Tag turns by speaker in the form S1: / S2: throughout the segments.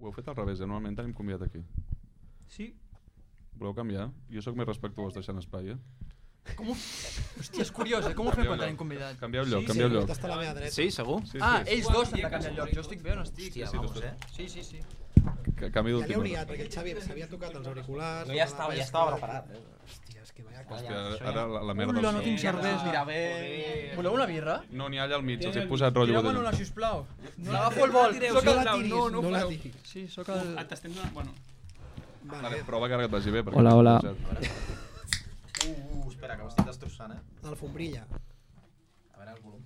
S1: Ho heu fet al revés, eh? normalment tenim convidat aquí.
S2: Sí.
S1: Voleu canviar? Jo sóc més respectuós deixant espai, eh?
S2: Com ho... Hòstia, és curiós, eh? Com ho fem
S1: Canvieu
S2: quan tenim
S1: lloc.
S2: convidat?
S1: Canvieu lloc,
S3: sí,
S1: canvieu
S3: sí,
S1: lloc.
S3: Està a la meva dreta.
S4: Sí, segur?
S1: Sí,
S2: Ah,
S1: sí,
S2: ells dos han de canviar lloc. Jo estic bé o no estic?
S4: Hòstia,
S1: sí,
S4: vamos,
S1: tot-
S4: eh?
S2: Sí, sí, sí.
S1: ca- canvi
S3: Ja l'heu
S1: d'última hora.
S3: liat, perquè el Xavi s'havia tocat els auriculars...
S4: No, ja estava, ja estava preparat. Eh?
S3: Hòstia, és que vaya...
S1: Hòstia,
S4: Això ja-
S1: ara la, la merda...
S2: Hola,
S1: del
S2: no
S1: son.
S2: tinc cervesa.
S4: Anirà
S2: bé.
S4: bé.
S2: Voleu una birra?
S1: No, n'hi ha allà al mig, els he posat rotllo
S2: Tireu-me una,
S1: botella.
S2: sisplau. No l'agafo el vol.
S3: No
S2: Soc el...
S3: la tiris,
S2: No, no,
S3: no la
S2: fareu.
S3: tiris.
S2: Sí, sóc el...
S5: T'estem donant... Bueno,
S1: Vale,
S3: Vale,
S1: prova que ara que et vagi bé. perquè
S6: Hola,
S1: t'he
S6: hola.
S1: posat.
S4: Uh, uh, espera, que m'estic destrossant, eh?
S3: l'alfombrilla.
S4: A veure el volum.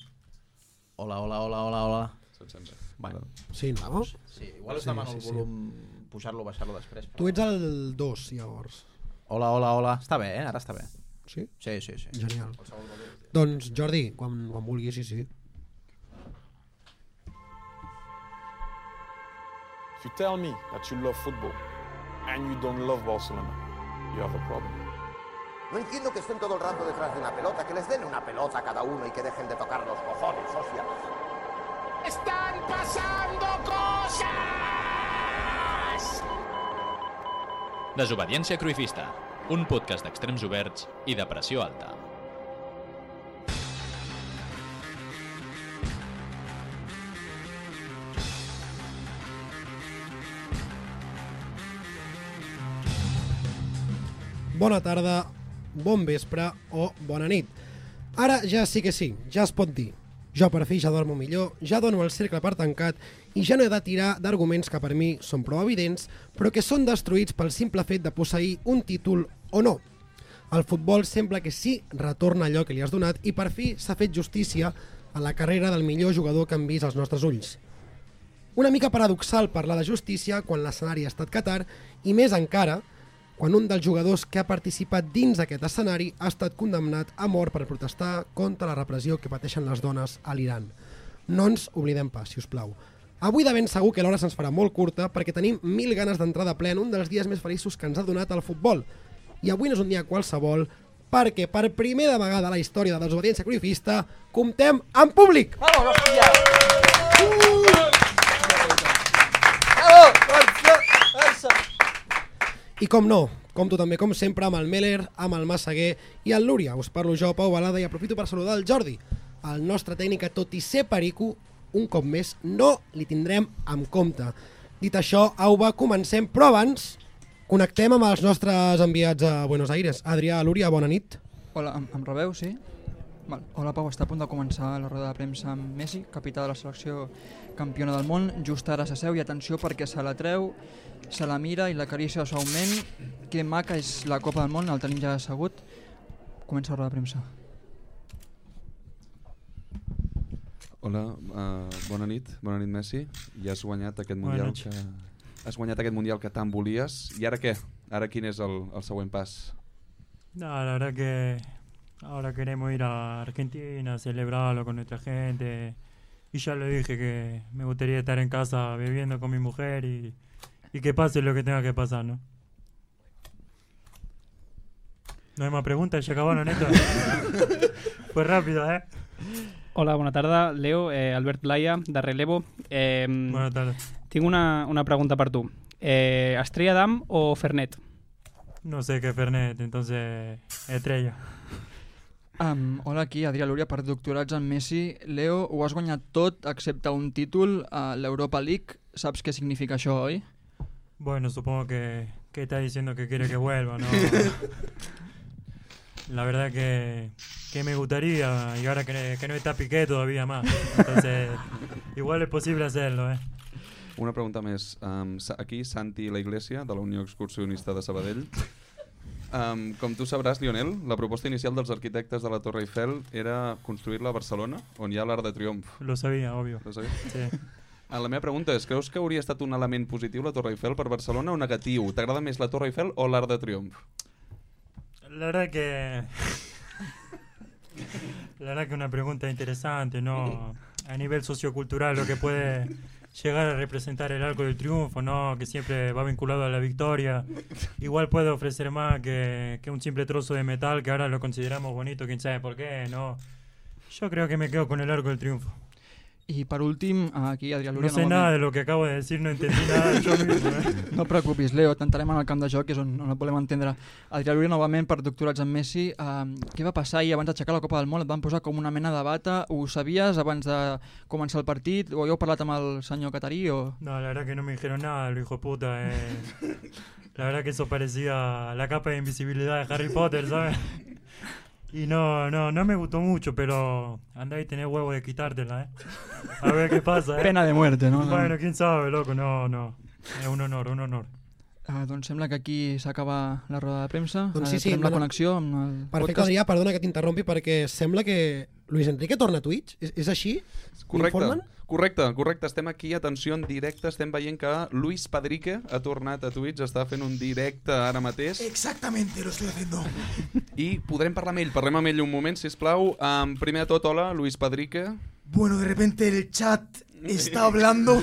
S4: Hola, hola, hola, hola, hola.
S1: Se't sent bé.
S4: Vale.
S3: Sí, no?
S4: Sí, igual us demano el volum, pujar-lo, baixar-lo després. però-
S3: Tu ets el 2, llavors.
S4: Hola, hola, hola. Està bé, eh? Ara està bé.
S3: Sí?
S4: Sí, sí, sí.
S3: Genial.
S4: Qualsevol volum.
S3: Doncs Jordi, quan, quan vulguis, sí, sí.
S7: If you tell me that you love football and you don't love Barcelona, you have a problem.
S8: No entiendo que estén todo el rato detrás de una pelota, que les den una pelota a cada uno y que dejen de tocar los cojones, hostia. ¡Están pasando cosas!
S9: Desobediència Cruifista, un podcast d'extrems oberts i de pressió alta.
S3: Bona tarda, bon vespre o bona nit. Ara ja sí que sí, ja es pot dir. Jo per fi ja dormo millor, ja dono el cercle per tancat i ja no he de tirar d'arguments que per mi són prou evidents, però que són destruïts pel simple fet de posseir un títol o no. El futbol sembla que sí retorna allò que li has donat i per fi s'ha fet justícia a la carrera del millor jugador que han vist als nostres ulls. Una mica paradoxal parlar de justícia quan l'escenari ha estat Qatar i més encara quan un dels jugadors que ha participat dins aquest escenari ha estat condemnat a mort per protestar contra la repressió que pateixen les dones a l'Iran. No ens oblidem pas, si us plau. Avui de ben segur que l'hora se'ns farà molt curta perquè tenim mil ganes d'entrar de ple en un dels dies més feliços que ens ha donat el futbol. I avui no és un dia qualsevol perquè per primera vegada a la història de la desobediència cruifista comptem en públic!
S4: Vamos, hòstia!
S3: I com no, com tu també, com sempre, amb el Meller, amb el Massaguer i el Lúria. Us parlo jo, Pau Balada, i aprofito per saludar el Jordi, el nostre tècnic, que tot i ser perico, un cop més no li tindrem en compte. Dit això, au va, comencem, però abans connectem amb els nostres enviats a Buenos Aires. Adrià, Lúria, bona nit.
S2: Hola, em, em rebeu, sí? Val. Hola Pau, està a punt de començar la roda de premsa amb Messi, capità de la selecció campiona del món. Just ara s'asseu i atenció perquè se la treu, se la mira i l'acaricia suaument. Que maca és la Copa del Món, el tenim ja assegut. Comença la roda de premsa.
S1: Hola, uh, bona nit, bona nit Messi. Ja has guanyat aquest
S5: Bona
S1: mundial
S5: nit.
S1: que... Has guanyat aquest mundial que tant volies. I ara què? Ara quin és el, el següent pas?
S5: No, la verdad que ahora queremos ir a Argentina, celebrarlo con nuestra gente. Y ya lo dije que me gustaría estar en casa bebiendo con mi mujer y, y que pase lo que tenga que pasar, ¿no? ¿No hay más preguntas? ¿Ya acabaron esto? Fue rápido, ¿eh?
S6: Hola, bona tarda. Leo, eh, Albert Laia, de Relevo. Eh,
S5: Buenas tardes.
S6: Tinc una, una pregunta per tu. Eh, Estrella d'Am o Fernet?
S5: No sé qué Fernet, entonces estrella.
S2: Um, hola aquí, Adrià Lúria, per doctorats en Messi. Leo, ho has guanyat tot excepte un títol a l'Europa League. Saps què significa això, oi?
S5: Bueno, supongo que, que está diciendo que quiere que vuelva, ¿no? La verdad que, que me gustaría, y ahora que, que no está Piqué todavía más. Entonces, igual es posible hacerlo, ¿eh?
S1: Una pregunta més. Um, aquí, Santi i la Iglesia, de la Unió Excursionista de Sabadell. Um, com tu sabràs, Lionel, la proposta inicial dels arquitectes de la Torre Eiffel era construir-la a Barcelona, on hi ha l'Arc de Triomf.
S5: Lo sabía, obvio.
S1: No sabia?
S5: Sí.
S1: Ah, La meva pregunta és, creus que hauria estat un element positiu la Torre Eiffel per Barcelona o negatiu? T'agrada més la Torre Eiffel o l'Arc de Triomf?
S5: La verdad que. La verdad que una pregunta interesante, ¿no? A nivel sociocultural, lo que puede llegar a representar el arco del triunfo, ¿no? Que siempre va vinculado a la victoria. Igual puede ofrecer más que, que un simple trozo de metal que ahora lo consideramos bonito, quién sabe por qué, ¿no? Yo creo que me quedo con el arco del triunfo.
S2: I per últim, aquí Adrià
S5: No
S2: Lúria...
S5: sé nada de lo que acabo de decir, no entendí nada yo mismo. ¿eh?
S2: No et preocupis, Leo, t'entrarem en el camp de joc, que és on, on et volem entendre. Adrià Lúria, novament, per doctorats amb Messi. Um, què va passar ahir abans d'aixecar la Copa del Món? Et van posar com una mena de bata? Ho sabies abans de començar el partit? O heu parlat amb el senyor Catarí? O...
S5: No, la verdad que no me dijeron nada, lo hijo de puta. eh. La verdad que eso parecía la capa de invisibilidad de Harry Potter, ¿sabes? Y no, no, no me gustó mucho, pero andá y tenés huevo de quitártela, ¿eh? A ver qué pasa, ¿eh?
S2: Pena de muerte, no?
S5: Bueno, quién sabe, loco, no, no. Es un honor, un honor.
S2: Uh, doncs sembla que aquí s'acaba la roda de premsa.
S3: Doncs sí,
S2: Eh,
S3: sí,
S2: Fem la
S3: bueno,
S2: connexió amb el
S3: Perfecte,
S2: podcast.
S3: Adrià, perdona que t'interrompi perquè sembla que Luis Enrique torna a Twitch. És, és així?
S1: Correcte,
S3: M'informen?
S1: correcte, correcte. Estem aquí, atenció, en directe. Estem veient que Luis Padrique ha tornat a Twitch, està fent un directe ara mateix.
S10: Exactamente, lo estoy haciendo.
S1: I podrem parlar amb ell. Parlem amb ell un moment, si plau. Um, primer de tot, hola, Luis Padrique.
S10: Bueno, de repente el chat está hablando,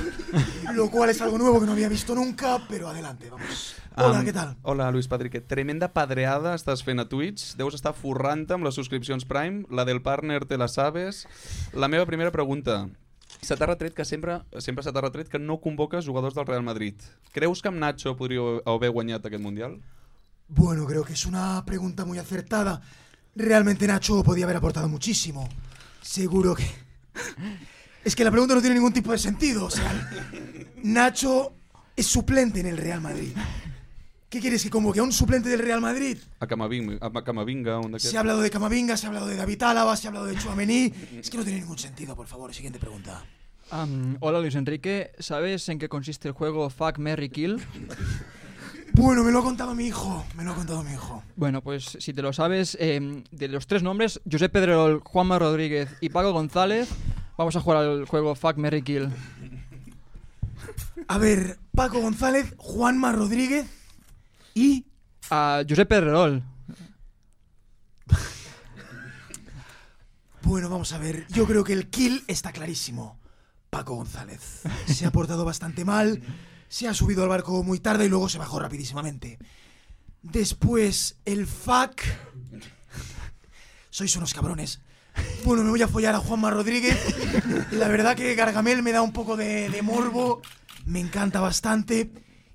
S10: lo cual es algo nuevo que no había visto nunca, pero adelante, vamos. Hola,
S1: Em,
S10: ¿qué tal?
S1: Hola, Luis Padrique. Tremenda padreada estàs fent a Twitch. Deus estar forrant amb les subscripcions Prime. La del partner te la sabes. La meva primera pregunta. Se t'ha retret que sempre, sempre se t'ha retret que no convoques jugadors del Real Madrid. Creus que amb Nacho podria haver guanyat aquest Mundial?
S10: Bueno, creo que es una pregunta muy acertada. Realmente Nacho podía haber aportado muchísimo. Seguro que... Es que la pregunta no tiene ningún tipo de sentido. O sea, Nacho es suplente en el Real Madrid. ¿Qué quieres que convoque a un suplente del Real Madrid?
S1: A Camavinga, a Camavinga un d'aquests?
S10: Se ha hablado de Camavinga, se ha hablado de David Álava, se ha hablado de Chuamení. Es que no tiene ningún sentido, por favor. Siguiente pregunta.
S2: Am, hola, Luis Enrique. ¿Sabes en qué consiste el juego Fuck, Merry Kill?
S10: Bueno, me lo ha contado mi hijo. Me lo ha contado mi hijo.
S2: Bueno, pues si te lo sabes, eh, de los tres nombres, Josep Pedrerol, Juanma Rodríguez y Paco González, vamos a jugar al juego Fuck, Merry Kill.
S10: A ver, Paco González, Juanma Rodríguez y...
S2: A Josep Pedrerol.
S10: Bueno, vamos a ver. Yo creo que el kill está clarísimo. Paco González. Se ha portado bastante mal, se ha subido al barco muy tarde y luego se bajó rapidísimamente. Después, el fuck... Sois unos cabrones. Bueno, me voy a follar a Juanma Rodríguez. La verdad que Gargamel me da un poco de, de morbo. Me encanta bastante.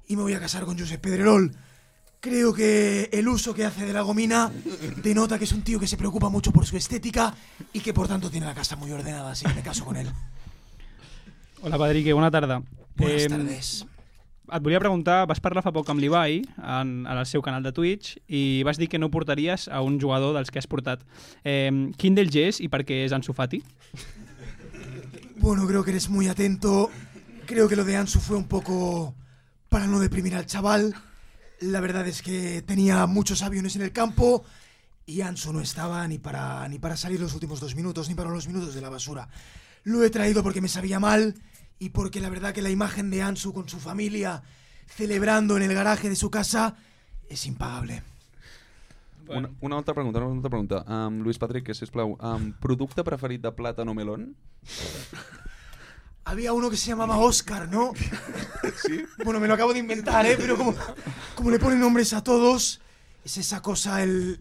S10: Y me voy a casar con Josep Pedrerol. Creo que el uso que hace de la gomina denota que es un tío que se preocupa mucho por su estética y que por tanto tiene la casa muy ordenada, así que me caso con él.
S6: Hola, Padrique, bona tarda.
S10: Buenas
S6: Em,
S10: tardes.
S6: Et volia preguntar, vas parlar fa poc amb l'Ibai en, en el seu canal de Twitch i vas dir que no portaries a un jugador dels que has portat. Eh, quin d'ells és i per què és Ansu Fati?
S10: Bueno, creo que eres muy atento. Creo que lo de Ansu fue un poco para no deprimir al chaval. La verdad es que tenía muchos aviones en el campo y Ansu no estaba ni para, ni para salir los últimos dos minutos, ni para los minutos de la basura. Lo he traído porque me sabía mal y porque la verdad que la imagen de Ansu con su familia celebrando en el garaje de su casa es impagable.
S1: Una, una altra pregunta, una altra pregunta. Um, Luis Patrick, sisplau, um, producte preferit de plàtano melón?
S10: Había uno que se llamaba Oscar, ¿no? Bueno, me lo acabo de inventar, ¿eh? Pero como, como le ponen nombres a todos, es esa cosa, el,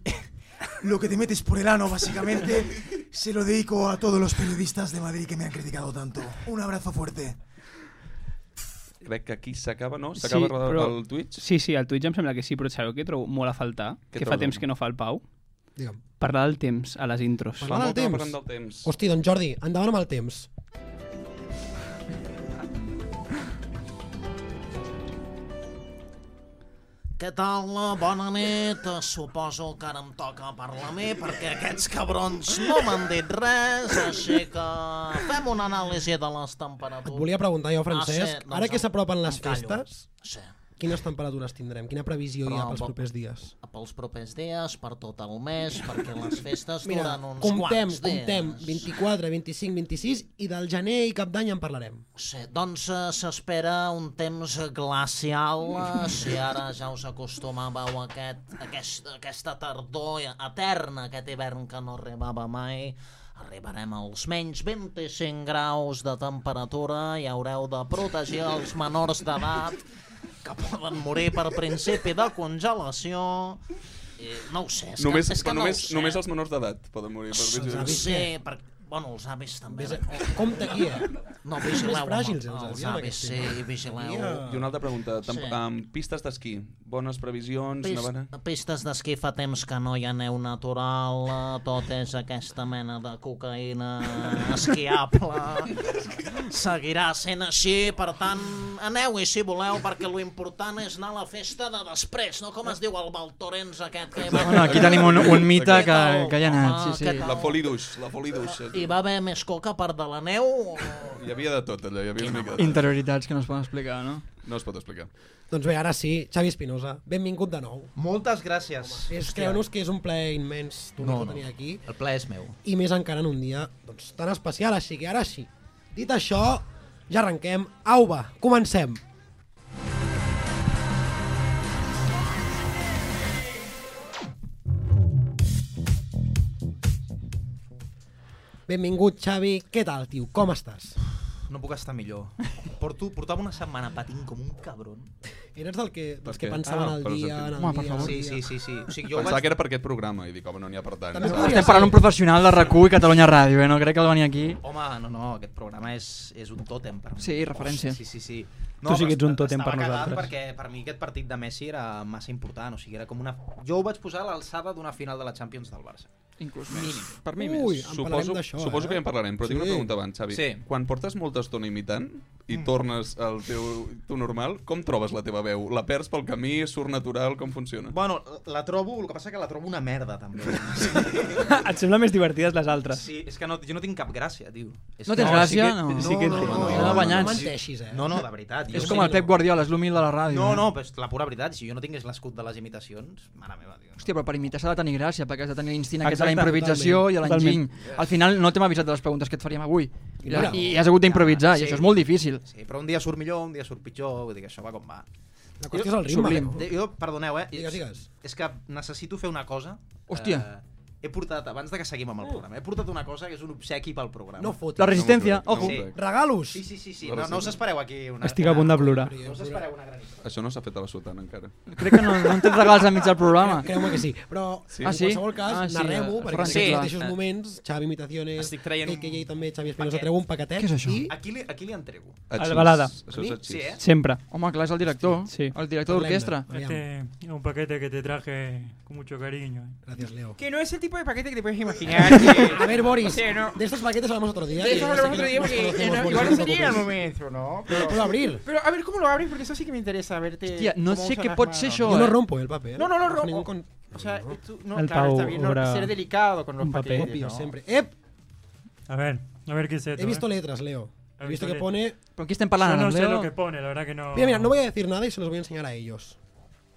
S10: lo que te metes por el ano, básicamente. Se lo dedico a todos los periodistas de Madrid que me han criticado tanto. Un abrazo fuerte.
S1: Crec que aquí s'acaba, no? S'acaba sí, però... el Twitch?
S6: Sí, sí, al Twitch em sembla que sí, però sabeu què trobo molt a faltar?
S1: Què
S6: que fa
S1: trobes?
S6: temps que no fa el Pau.
S3: Digue'm.
S6: Parlar del temps a les intros.
S3: Parlar del temps.
S1: parlem del temps.
S3: Hosti, doncs Jordi, endavant amb el temps.
S11: Què tal? Bona nit. Suposo que ara em toca parlar a mi perquè aquests cabrons no m'han dit res, així que fem una anàlisi de les temperatures.
S3: Et volia preguntar jo, Francesc,
S11: Ah, sí, doncs
S3: ara que s'apropen les
S11: em callo. eh?
S3: festes,
S11: Sí.
S3: quines temperatures tindrem? Quina previsió hi ha pels propers dies?
S11: Pels propers dies, per tot el mes, perquè les festes
S3: Mira,
S11: duren uns
S3: comptem,
S11: quants dies.
S3: comptem, 24, 25, 26 i del gener i cap d'any en parlarem.
S11: Sí, doncs eh, s'espera un temps glacial, eh, si ara ja us acostumàveu a aquest, aquest, aquesta tardor eterna, aquest hivern que no arribava mai, arribarem als menys 25 graus de temperatura i haureu de protegir els menors d'edat que poden morir per principi de congelació. I no ho sé, és
S1: només,
S11: que, eh? és que
S1: però
S11: no
S1: només,
S11: ho sé.
S1: només els menors d'edat poden morir per
S11: Sí,
S1: virus.
S11: sí, eh, per, Bueno, els avis també.
S3: Ves a- compte aquí, eh?
S11: No,
S3: Són
S11: vigileu.
S3: més
S11: amb-
S3: fràgils, els avis,
S11: els
S3: amb
S11: avis,
S3: aquest
S11: sí,
S3: tema.
S11: vigileu.
S1: I una altra pregunta, sí.
S11: Sí.
S1: amb pistes d'esquí, bones previsions,
S11: Pist,
S1: nevada...
S11: pistes d'esquí fa temps que no hi ha neu natural, eh, tot és aquesta mena de cocaïna esquiable. Seguirà sent així, per tant, aneu-hi si voleu, perquè lo important és anar a la festa de després, no com es diu el Valtorens aquest que hi va...
S2: Bueno, aquí tenim un, un mite que, que hi ha anat, sí, sí.
S1: La foliduix, la foliduix.
S11: Hi va haver més coca per de la neu? o-
S1: Hi havia de tot, allò, hi havia una mica de tot.
S2: Interioritats que no es poden explicar, no?
S1: No es pot explicar.
S3: Doncs bé, ara sí, Xavi Espinosa, benvingut de nou.
S4: Moltes gràcies.
S3: Home, és, creu-nos que és un plaer immens tornar-te
S4: No,
S3: no,
S4: no.
S3: a tenir aquí.
S4: El plaer és meu.
S3: I més encara en un dia doncs, tan especial, així que ara sí. Dit això, ja arrenquem. Au, va, comencem. Benvingut, Xavi. Què tal, tio? Com estàs?
S4: No puc estar millor. Porto, portava una setmana patint com un cabron.
S3: Eres del que, dels
S1: Per
S3: que
S1: què?
S3: pensaven
S1: Ah,
S3: el
S1: per
S3: dia,
S1: sentir.
S3: en el
S1: Home,
S3: dia,
S1: per favor.
S3: en
S4: Sí,
S3: el
S4: sí,
S3: dia.
S4: sí, sí. O sigui, jo
S1: Pensava
S4: vaig...
S1: que era per aquest programa i dic, home, no n'hi ha per tant.
S3: També
S1: No.
S3: podria
S2: Estem parlant un professional de RAC1 i Catalunya Ràdio, eh? No crec que el venir aquí...
S4: Home, no, no, aquest programa és, és un tòtem per mi.
S2: Sí, referència.
S4: Sí, sí, sí.
S6: Tu sí que ets un
S4: però est-
S6: tòtem per
S4: estava cagat
S6: nosaltres.
S4: Perquè per mi aquest partit de Messi era massa important, o sigui, era com una... Jo ho vaig posar a l'alçada d'una final de la Champions del Barça.
S2: Inclús
S4: més.
S2: Per mi
S3: Ui,
S2: més.
S3: en
S1: Suposo,
S3: parlarem d'això,
S1: suposo que ja en parlarem, però sí. tinc una
S3: Sí.
S1: pregunta abans, Xavi.
S4: Sí.
S1: Quan portes molta estona imitant i tornes al teu, tu normal, com trobes la teva veu? La perds pel camí, surt natural, com funciona?
S4: Bueno, la trobo, el que passa que la trobo una merda, també.
S6: Et semblen més divertides les altres.
S4: Sí, és que no, jo no tinc cap gràcia, tio. És
S2: No
S4: que-
S2: tens
S4: sí que-
S2: gràcia? No.
S6: sí que-
S4: no, no,
S6: No,
S4: no,
S2: no,
S4: no,
S2: banyats.
S4: no,
S3: No menteixis, eh?
S4: No, no, de veritat. jo
S2: És
S4: sí
S2: com el
S4: que-
S2: Pep Guardiola, és l'humil de la ràdio.
S4: No,
S2: eh?
S4: no, però és la pura veritat, si jo no tingués l'escut de les imitacions, mare meva, tio.
S2: Hòstia, però per imitar s'ha de tenir gràcia, perquè has de tenir l'instint aquest de la
S6: Exacte,
S2: improvisació
S6: totalment.
S2: i de l'enginy. Al final no t'hem avisat de les preguntes que et faríem avui. I,
S3: Mira.
S2: i has hagut d'improvisar,
S4: Sí.
S2: i això és molt difícil.
S4: Sí, però un dia surt millor, un dia surt pitjor, vull dir que això va com va.
S3: La qüestió és el ritme.
S2: Sublim.
S3: eh?
S4: De- Jo, perdoneu, eh?
S3: Digues, digues.
S4: És que necessito fer una cosa.
S2: Hòstia.
S4: Eh, he portat, abans de que seguim amb el programa, he portat una cosa que és un obsequi pel programa.
S3: Oh. No fotis.
S2: La resistència,
S1: No m'ho
S2: ojo.
S1: crec, no m'ho crec.
S3: Regalos!
S4: Sí, sí, sí, sí.
S1: La
S4: No, no us
S1: resina.
S4: espereu aquí una... eh,
S6: Estic a punt de plorar.
S4: No us espereu una granita.
S1: Això no s'ha fet a la sotana encara.
S2: Crec que no, no en tens regals a mig del programa.
S3: Creu-me que sí. Però sí?
S1: Sí?
S3: en
S2: Ah, sí?
S3: qualsevol cas, ah,
S2: Ah,
S3: sí,
S2: sí,
S3: narrem-ho,
S2: eh,
S3: perquè en
S2: Ferran,
S4: sí.
S3: aquests mateixos
S4: Eh,
S3: moments, Xavi Imitaciones,
S4: Estic traient un-
S3: KKJ també, Xavi Espinosa,
S4: Paquet.
S3: treu un paquetet.
S2: Què és això?
S3: I
S4: Aquí li, aquí li entrego.
S1: Atxís.
S6: la balada.
S1: Això és atxís.
S4: Sí, eh?
S6: Sempre.
S2: Home, clar, és el director.
S6: Sí.
S2: El director
S3: Parlem-ne.
S2: d'orquestra.
S3: Aviam.
S5: Este es un paquete que te traje con mucho cariño. eh.
S3: Gracias, Leo.
S12: Que no es el tipo de paquete que te puedes imaginar. que-
S3: A ver, Boris,
S12: Sí, no.
S3: de estos paquetes hablamos otro día.
S12: De eso
S3: Y
S12: hablamos
S3: aquí
S12: otro día
S3: nos
S12: porque eh,
S3: conocemos,
S12: no,
S3: Boris,
S12: igual no
S3: no te
S12: sería el
S3: preocupes.
S12: momento, ¿no?
S3: Pero puedo abrir.
S12: Pero a ver, ¿cómo lo abres? Porque eso sí que me interesa verte.
S2: Hostia, no
S12: cómo
S2: sé eh.
S12: usas
S2: qué
S12: las
S2: pot
S12: manos.
S2: ser eso.
S3: Yo no rompo eh, el papel.
S12: No, no, no
S3: Bajo
S12: rompo.
S3: ningún con-
S12: O sea, tú, no,
S6: El
S12: claro, está
S6: Pau
S12: bien, no,
S6: obra
S12: ser delicado con los
S6: un papel.
S12: paquetes.
S3: Obvio,
S12: ¿no?
S3: siempre. Ep,
S5: A ver, a ver qué es esto.
S3: he visto
S5: eh.
S3: letras, Leo. He
S5: He
S3: visto
S5: visto
S3: que
S5: letras.
S3: pone...
S2: Però aquí estem
S5: Yo
S2: parlant,
S5: no
S2: amb
S5: sé lo que
S2: Leo.
S5: pone, la verdad que no...
S3: Mira, mira, no voy a decir nada y se los voy a enseñar a ellos.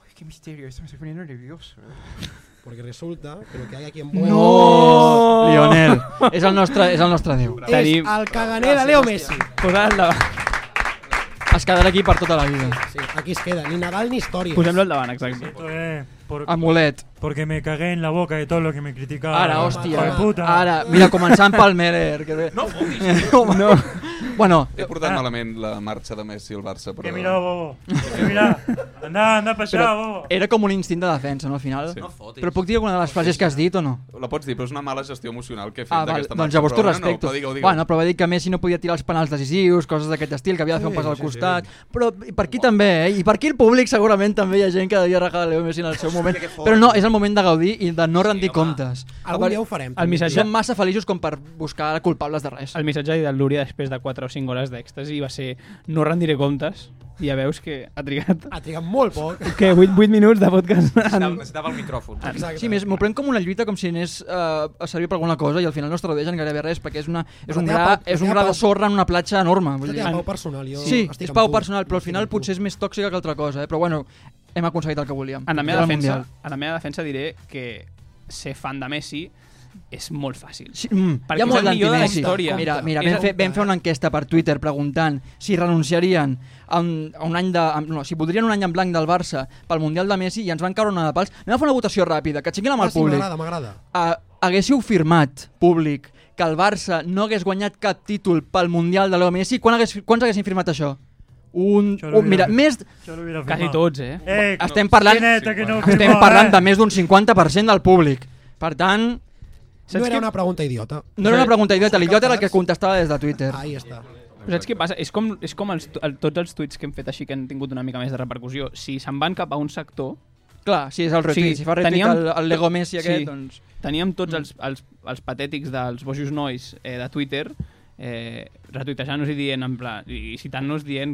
S12: Uy, qué misterio, esto me estoy poniendo nervioso. eh.
S3: Porque resulta que lo que hay aquí en Boeing
S2: No! Lionel, és el nostre, és el nostre Déu.
S3: es al caganer a Leo Messi.
S6: Posa'l-la.
S2: Es quedarà aquí per tota la vida.
S3: Sí, aquí es queda. Ni Nadal ni historias.
S6: Posem-lo al davant, exacte.
S5: Esto es por-
S2: Amulet.
S5: porque me cagué en la boca de todo lo que me criticaban.
S2: Ara,
S5: Hijo de
S2: hòstia.
S5: puta.
S2: Ara, mira, començant pel Merer. Que... No fotis. no. Bueno,
S1: He portat malament la marxa de Messi al Barça, però...
S5: Que mira, bobo. Que mira. Anda, anda para allá, bobo.
S2: era com un instint de defensa, no, al final?
S1: Sí. No
S4: fotis.
S2: Però puc dir alguna de les frases que has dit o no?
S1: La pots dir, però és una mala gestió emocional que he fet
S2: Ah, val,
S1: d'aquesta marxa.
S2: doncs llavors t'ho
S1: però, No, no,
S2: respecto.
S1: però digue-ho, digue-ho.
S2: bueno, però va dir que Messi no podia tirar els penals decisius, coses d'aquest estil, que havia de fer un pas al costat. Però i per aquí també, eh? I per aquí el públic segurament també hi ha gent que devia rajar de Leo Messi en el seu moment.
S4: que fort.
S2: Però no, és el moment de gaudir i de no rendir
S4: home.
S2: comptes.
S3: Algún día ho farem.
S6: El missatge,
S2: Són massa feliços com per buscar culpables de res.
S6: el missatge de Lúria després de 4 o 5 hores d'èxtasi va ser no rendiré comptes i ja veus que ha trigat
S3: Ha trigat molt poc.
S6: que 8, 8 minuts de podcast en...
S4: Necessitava, necessitava el micròfon.
S3: Exacte.
S2: Sí, més, m'ho prenc com una lluita com si anés eh, a servir per alguna cosa i al final no es tradueix en gairebé res perquè és, una, és,
S3: Però
S2: un,
S3: té
S2: gra,
S3: apau-
S2: és
S3: té
S2: un gra
S3: apau-
S2: de sorra en una platja enorme. Vull
S3: Aquesta
S2: dir.
S3: té pau personal, jo
S2: Sí,
S3: estic
S2: és
S3: amb
S2: pau
S3: tu.
S2: personal, però al
S3: Estic
S2: final
S3: amb tu.
S2: potser és més tòxica que altra cosa, eh? però bueno, hem aconseguit el que volíem.
S6: En la meva
S2: Era el
S6: defensa,
S2: Mundial.
S6: en la meva defensa diré que ser fan de Messi és molt fàcil.
S2: Sí, mm,
S6: Perquè
S2: hi ha
S6: és
S2: molt
S6: el millor de la
S2: d'antimessi.
S6: història.
S2: Mira, mira
S6: És
S2: vam,
S6: el-
S2: fer, vam fer una enquesta per Twitter preguntant si renunciarien a un, a un any de... A, no, si voldrien un any en blanc del Barça pel Mundial de Messi i ens van caure una de pals. Anem a fer una votació ràpida, que aixequin la mà
S3: Ah,
S2: al
S3: sí,
S2: públic.
S3: m'agrada, m'agrada.
S2: uh, haguéssiu firmat públic que el Barça no hagués guanyat cap títol pel Mundial de Leo Messi, quan hagués, quants haguessin firmat això? Un,
S5: Jo no
S2: un mira,
S5: mira.
S2: més,
S5: Yo lo hubiera
S6: Quasi
S5: firmado.
S6: tots, eh?
S5: Eh,
S2: estem parlant,
S5: Quineta, que no eh.
S2: estem
S5: firmó,
S2: parlant
S5: eh?
S2: de més d'un 50% del públic. Per tant,
S6: Saps
S3: no era
S6: que-
S3: una pregunta idiota.
S2: No era una pregunta idiota, l'idiota era el que contestava des de Twitter.
S3: Ahí està.
S6: Però saps què passa? És com, és com els, tu- el, tots els tuits que hem fet així que han tingut una mica més de repercussió. Si se'n van cap a un sector...
S2: Clar, si és el retweet, si fa retweet el- el Lego Messi aquest,
S6: sí,
S2: doncs-
S6: Teníem tots els, els, els patètics dels bojos nois eh, de Twitter eh, retuitejant-nos i dient en pla, i citant-nos dient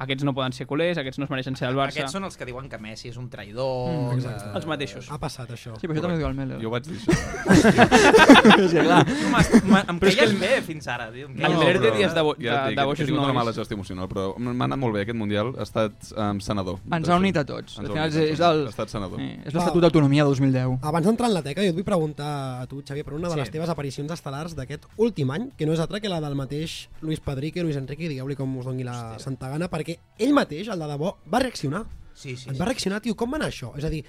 S6: aquests no poden ser culers, aquests no es mereixen ser del Barça.
S4: Aquests són els que diuen que Messi és un traïdor...
S6: Mm,
S4: que-
S6: exacte. Els mateixos.
S3: Ha passat això.
S2: Sí, però això també ho diu el eh. Melo.
S1: Jo vaig dir
S2: això.
S1: Sí, clar.
S4: Tu m'has- m'ha- em
S1: Però és que
S4: creies
S1: el-
S4: bé fins ara, tio, em
S1: No, però
S4: creies bé. El Valverde dies de bo-
S1: ja et
S4: de-
S1: dic,
S4: de boixos
S1: He tingut una
S4: nois.
S1: mala gestió emocional, però m'ha anat molt bé aquest Mundial. Ha estat um, sanador.
S2: Ens ha unit a tots. Al
S1: Ens ha
S2: final
S1: unit a
S2: és- és
S1: tots.
S2: el-
S1: Ha estat sanador.
S2: Sí, és l'Estatut d'Autonomia 2010.
S3: Abans d'entrar en la teca, jo et vull preguntar a tu, Xavier, per una de
S2: Sí.
S3: les teves aparicions estel·lars d'aquest últim any, que no és altra que la del mateix Luis Padrique, Luis Enrique, digueu-li com us doni la santa gana, perquè ell mateix, el de debò, va reaccionar.
S4: Sí, sí,
S3: Et va reaccionar, tio, com va anar això? És a dir,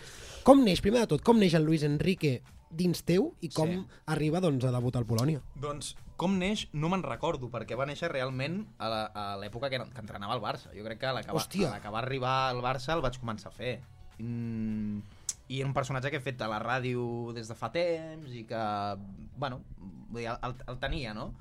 S3: com neix, primer de tot, com neix el Luis Enrique dins teu i com
S4: Sí.
S3: arriba doncs, a debutar al Polònia?
S4: Doncs com neix no me'n recordo, perquè va néixer realment a la- a l'època que, que entrenava el Barça. Jo crec que a la que, va,
S3: Hòstia.
S4: a la que va arribar al Barça el vaig començar a fer. Mm, I era un personatge que he fet a la ràdio des de fa temps i que, bueno, vull dir, el, el, el tenia, no?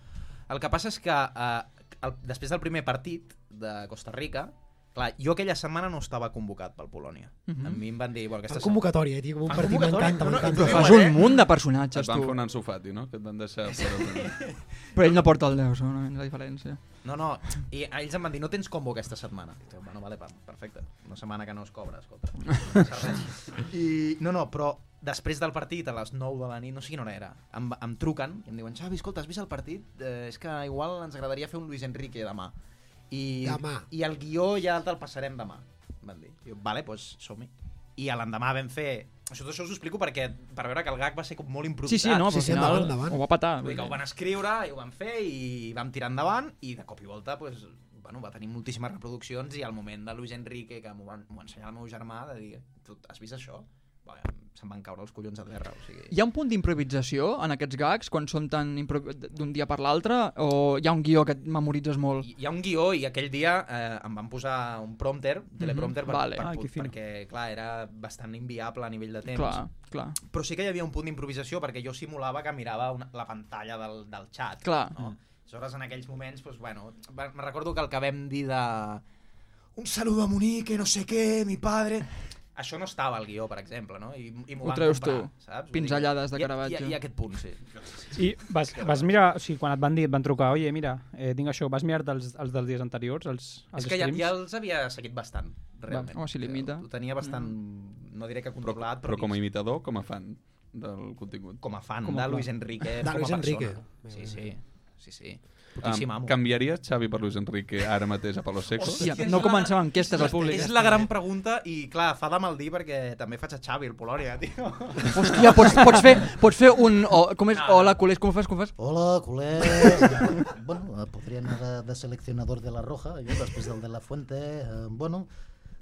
S4: El que passa és que eh, el, després del primer partit de Costa Rica, clar, jo aquella setmana no estava convocat pel Polònia.
S2: Mhm.
S4: A mi em van dir... Bueno, aquesta
S3: Fan convocatòria, eh, tio, com un
S4: Fan
S3: partit
S4: convocatòria,
S3: m'encanta,
S4: no, no, eh?
S3: m'encanta.
S4: i t'ho
S2: Però fas
S4: diuen,
S2: un munt de personatges,
S1: Et van
S2: tu.
S1: fer un ensofati, no? Que et van deixar... fora.
S2: Però ell no porta el 10, segurament, la diferència.
S4: No, no, i ells em van dir, no tens combo aquesta setmana. I jo, bueno, vale, pa, perfecte. Una setmana que no es cobra, escolta. No passa res. I, no, no, però després del partit, a les 9 de la nit, no sé quina hora era, em, em truquen i em diuen, Xavi, escolta, has vist el partit? Eh, és que igual ens agradaria fer un Luis Enrique demà. I,
S3: Demà.
S4: I el guió ja te'l passarem demà, em van dir. Jo, vale, doncs som-hi. I a l'endemà vam fer... Això, això us ho explico perquè per veure que el gag va ser com molt improvisat.
S2: Sí, sí, no, però al final ho va patar.
S4: Vull dir que ho van escriure i ho van fer i vam tirar endavant i de cop i volta pues, bueno, va tenir moltíssimes reproduccions i al moment de Luis Enrique, que m'ho van- m'ho va ensenyar el meu germà, de dir, tu has vist això? Vale, se'm van caure els collons a terra. O sigui...
S2: Hi ha un punt d'improvisació en aquests gags quan són tan impro- d'un dia per l'altre o hi ha un guió que et memoritzes molt?
S4: hi ha un guió i aquell dia eh, em van posar un prompter, un teleprompter, per,
S2: vale.
S4: per,
S2: Ah, que
S4: per,
S2: fino.
S4: perquè clar, era bastant inviable a nivell de temps.
S2: Clar, clar.
S4: Però sí que hi havia un punt d'improvisació perquè jo simulava que mirava una, la pantalla del, del xat.
S2: Clar.
S1: Ah.
S4: No? Aleshores, en aquells moments, doncs, bueno, va- me recordo que el que vam dir de...
S10: Un saludo a Monique, no sé qué, mi padre...
S4: Això no estava al guió, per exemple, no? I, i m'ho
S2: Ho
S4: van
S2: treus
S4: comprar,
S2: tu.
S4: saps? Vull dir,
S2: Pinzellades de eh?
S4: hi ha-
S2: Caravaggio.
S4: Hi, ha- hi, ha aquest punt, sí.
S6: I vas, vas mirar, o sigui, quan et van dir, et van trucar, oye, mira, eh, tinc això, vas mirar-te els, els dels dies anteriors, els, els
S4: És que ja,
S6: streams?
S4: ja els havia seguit bastant, realment.
S2: home, si limita.
S4: Ho tenia bastant, no diré que controlat, però,
S1: Però com a imitador, com a fan del contingut.
S4: Com a fan
S1: Com
S4: com
S1: a
S4: de
S1: fan.
S4: Luis Enrique,
S1: De
S4: com a
S1: Luis
S4: persona.
S1: Enrique.
S4: Sí, sí. Sí, sí. Putíssim
S1: Um,
S4: amo.
S1: canviaries Xavi per Luis Enrique ara mateix a Palo Seco?
S2: Hòstia, no començava enquestes al públic.
S4: És la gran pregunta i, clar, fa de mal dir perquè també faig a Xavi, el Polònia, tio.
S2: Hòstia, pots, pots, fer, pots fer un... oh, O, com és? Hola, culers, com ho fas? Com ho fas?
S13: Hola, culers. bueno, eh, podria anar de, de seleccionador de la Roja, jo, després del de la Fuente. Eh, bueno,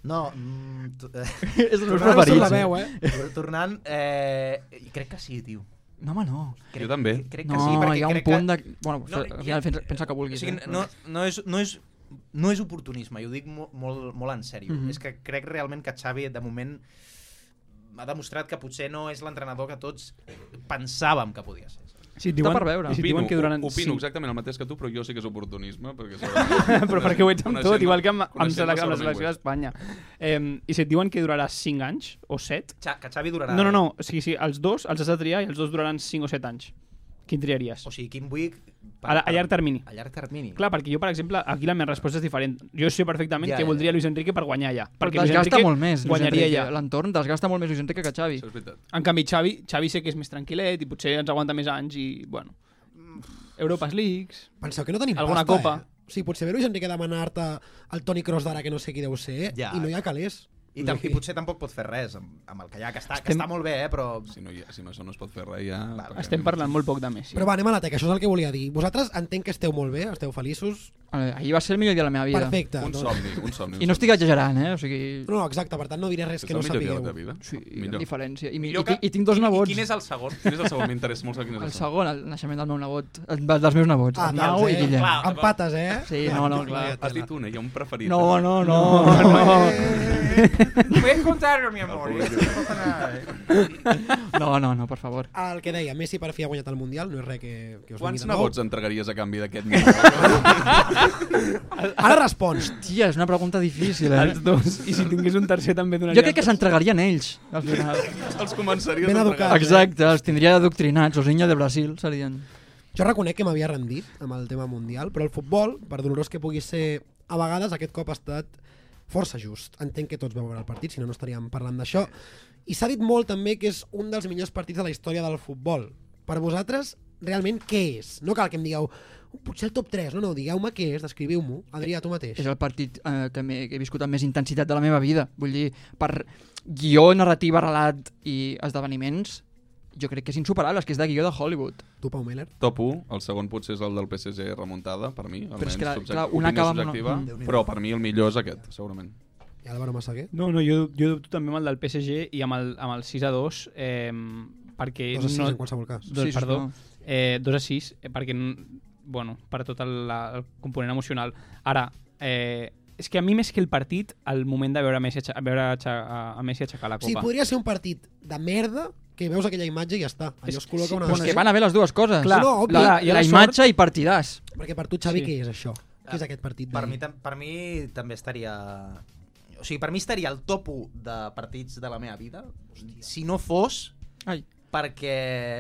S13: no... Mm, tu, eh,
S2: És el meu preferit,
S13: a la
S2: sí.
S13: veu, eh?
S4: Tor- Tornant, eh, crec que sí, tio.
S2: No, home, no.
S4: Crec- també. crec que
S2: no,
S4: sí, perquè
S2: hi ha un
S4: crec que-
S2: punt de... Bueno,
S4: No,
S2: no,
S4: hi ha-
S2: al final pensa, pensa que
S4: O
S2: vulguis.
S4: sigui,
S2: eh?
S4: no, no, és, no, és, no és oportunisme, i ho dic mo, molt, molt en sèrio.
S2: Mhm.
S4: És que crec realment que Xavi, de moment, ha demostrat que potser no és l'entrenador que tots pensàvem que podia ser.
S6: Si et diuen- i si et
S1: opino,
S6: diuen que durant
S1: Opino
S6: cinc-
S1: exactament el mateix que tu, però jo sí que és oportunisme. Perquè
S6: Però perquè ho ets amb tot, igual que amb, amb,
S1: coneixent-me
S6: selec- amb la
S1: segurament
S6: selecció
S1: ho és.
S6: d'Espanya. Eh, I si et diuen que durarà 5 anys o 7...
S4: Xa- que Xavi durarà- eh?
S6: No, no, no, o sigui, sí, els dos els has de triar i els dos duraran 5 o 7 anys. Quin triaries?
S4: O sigui, quin vull...
S6: A, la- a llarg termini.
S4: A llarg termini.
S6: Clar, perquè jo, per exemple, aquí la meva resposta és diferent. Jo sé perfectament
S2: Ja,
S6: que
S2: ja.
S6: voldria Luis Enrique per guanyar allà.
S2: Però
S6: Perquè Luis
S2: desgasta
S6: Enrique
S2: molt més, Luis
S6: guanyaria
S2: Enrique.
S6: allà.
S2: L'entorn desgasta molt més Luis Enrique que Xavi.
S6: En canvi, Xavi, Xavi sé que és més tranquil·let i potser ens aguanta més anys i, bueno...
S4: Mm.
S6: Europas Leagues...
S3: Penseu que no tenim
S6: Alguna
S3: pasta,
S6: copa.
S3: Eh? O sigui, potser ve Luis Enrique a demanar-te el Toni Kroos d'ara, que no sé qui deu ser,
S4: Ja.
S3: i no hi ha calés.
S4: I, tam- I potser tampoc pot fer res amb, amb el que hi ha, que està, que
S3: Estem-
S4: està molt bé, eh, però...
S1: Si no, hi ha, si no això no es pot fer res, ja...
S6: Estem parlant molt poc de Messi.
S3: Però va, anem a la teca, això és el que volia dir. Vosaltres entenc que esteu molt bé, esteu feliços.
S2: Eh, Ahir va ser el millor dia de la meva vida.
S3: Perfecte. doncs.
S1: Un somni, un somni.
S2: I no estic exagerant, eh? O sigui...
S3: No, no, exacte, per tant no diré res
S1: És
S3: que no
S1: el millor dia
S3: sapigueu.
S1: de la vida?
S2: Sí,
S1: Millor.
S2: millor. diferència. I, mi-
S1: Millor
S2: i, tinc- i tinc dos nebots.
S1: quin és el segon? Quin és el segon? M'interessa molt saber quin és el
S2: El segon, el naixement del meu nebot, el- dels meus nebots,
S3: Ah,
S2: Arnau
S3: doncs,
S2: i
S3: eh?
S2: Guillem.
S3: Clar, Amb pates, eh?
S2: Sí, no, no, clar.
S1: Has dit una, hi ha un preferit.
S2: No, no, no, no.
S12: Puedes contarlo, mi amor.
S3: El
S1: Ah,
S12: eh,
S3: público.
S12: No pasa nada. eh.
S2: No, no, no, per favor.
S3: El que deia, Messi per fi ha guanyat el Mundial, no és res que, que us
S1: Quants
S3: vingui de nou.
S1: nebots entregaries a canvi d'aquest micro?
S3: Ara respons.
S2: Hòstia, és una pregunta difícil, eh?
S6: Els dos. I si tingués un tercer també donaria...
S2: Jo crec que s'entregarien ells, al final.
S1: Els començaries
S3: Ben eh?
S1: a
S3: educat.
S1: entregar.
S2: Exacte, els tindria adoctrinats, els niños de Brasil serien.
S3: Jo reconec que m'havia rendit amb el tema mundial, però el futbol, per dolorós que pugui ser, a vegades aquest cop ha estat força just. Entenc que tots vau veure el partit, si no no estaríem parlant d'això. I s'ha dit molt també que és un dels millors partits de la història del futbol. Per vosaltres, realment, què és? No cal que em digueu, "Oh, potser el top 3, no, no, digueu-me què és, descriviu-m'ho. Adrià, tu mateix.
S2: És el partit eh, que, m'he- que he viscut amb més intensitat de la meva vida. Vull dir, per guió, narrativa, relat i esdeveniments, jo crec que és insuperable, és que és de guió de Hollywood.
S3: Tu, Pau Meller?
S1: Top 1, el segon potser és el del PSG remuntada, per mi, almenys,
S2: Però és que, clar,
S1: subjecte-
S2: clar,
S1: opinió
S2: una acaba amb una-
S1: subjectiva,
S2: Mm. Déu-n'hi-do.
S1: però per mi el millor és aquest, segurament.
S3: I Álvaro Massaguer?
S6: No, no, jo, jo dubto també amb el del PSG i amb el, amb el 6 a 2, eh, perquè...
S3: Dos a sis,
S6: no,
S3: en qualsevol cas.
S6: Dos,
S3: Sí, sí,
S6: perdó.
S3: no.
S6: Eh, 2 a 6, eh, perquè, n- bueno, per tot el, la, el component emocional. Ara, eh, és que a mi més que el partit, el moment de veure Messi, aixa- veure aixa- a, a Messi aixecar la copa.
S3: Sí, podria ser un partit de merda que veus aquella imatge i ja està. Allò es col·loca una...
S2: Però és que van haver les dues coses.
S3: Clar, no,
S2: no, la, la,
S3: òbvio.
S2: la, imatge i partidàs.
S3: Perquè per tu, Xavi, sí. què és això? Què és aquest partit?
S4: Per
S3: d'ahir?
S4: mi, tam- per mi també estaria... O sigui, per mi estaria el top 1 de partits de la meva vida. Si no fos
S2: Ai.
S4: perquè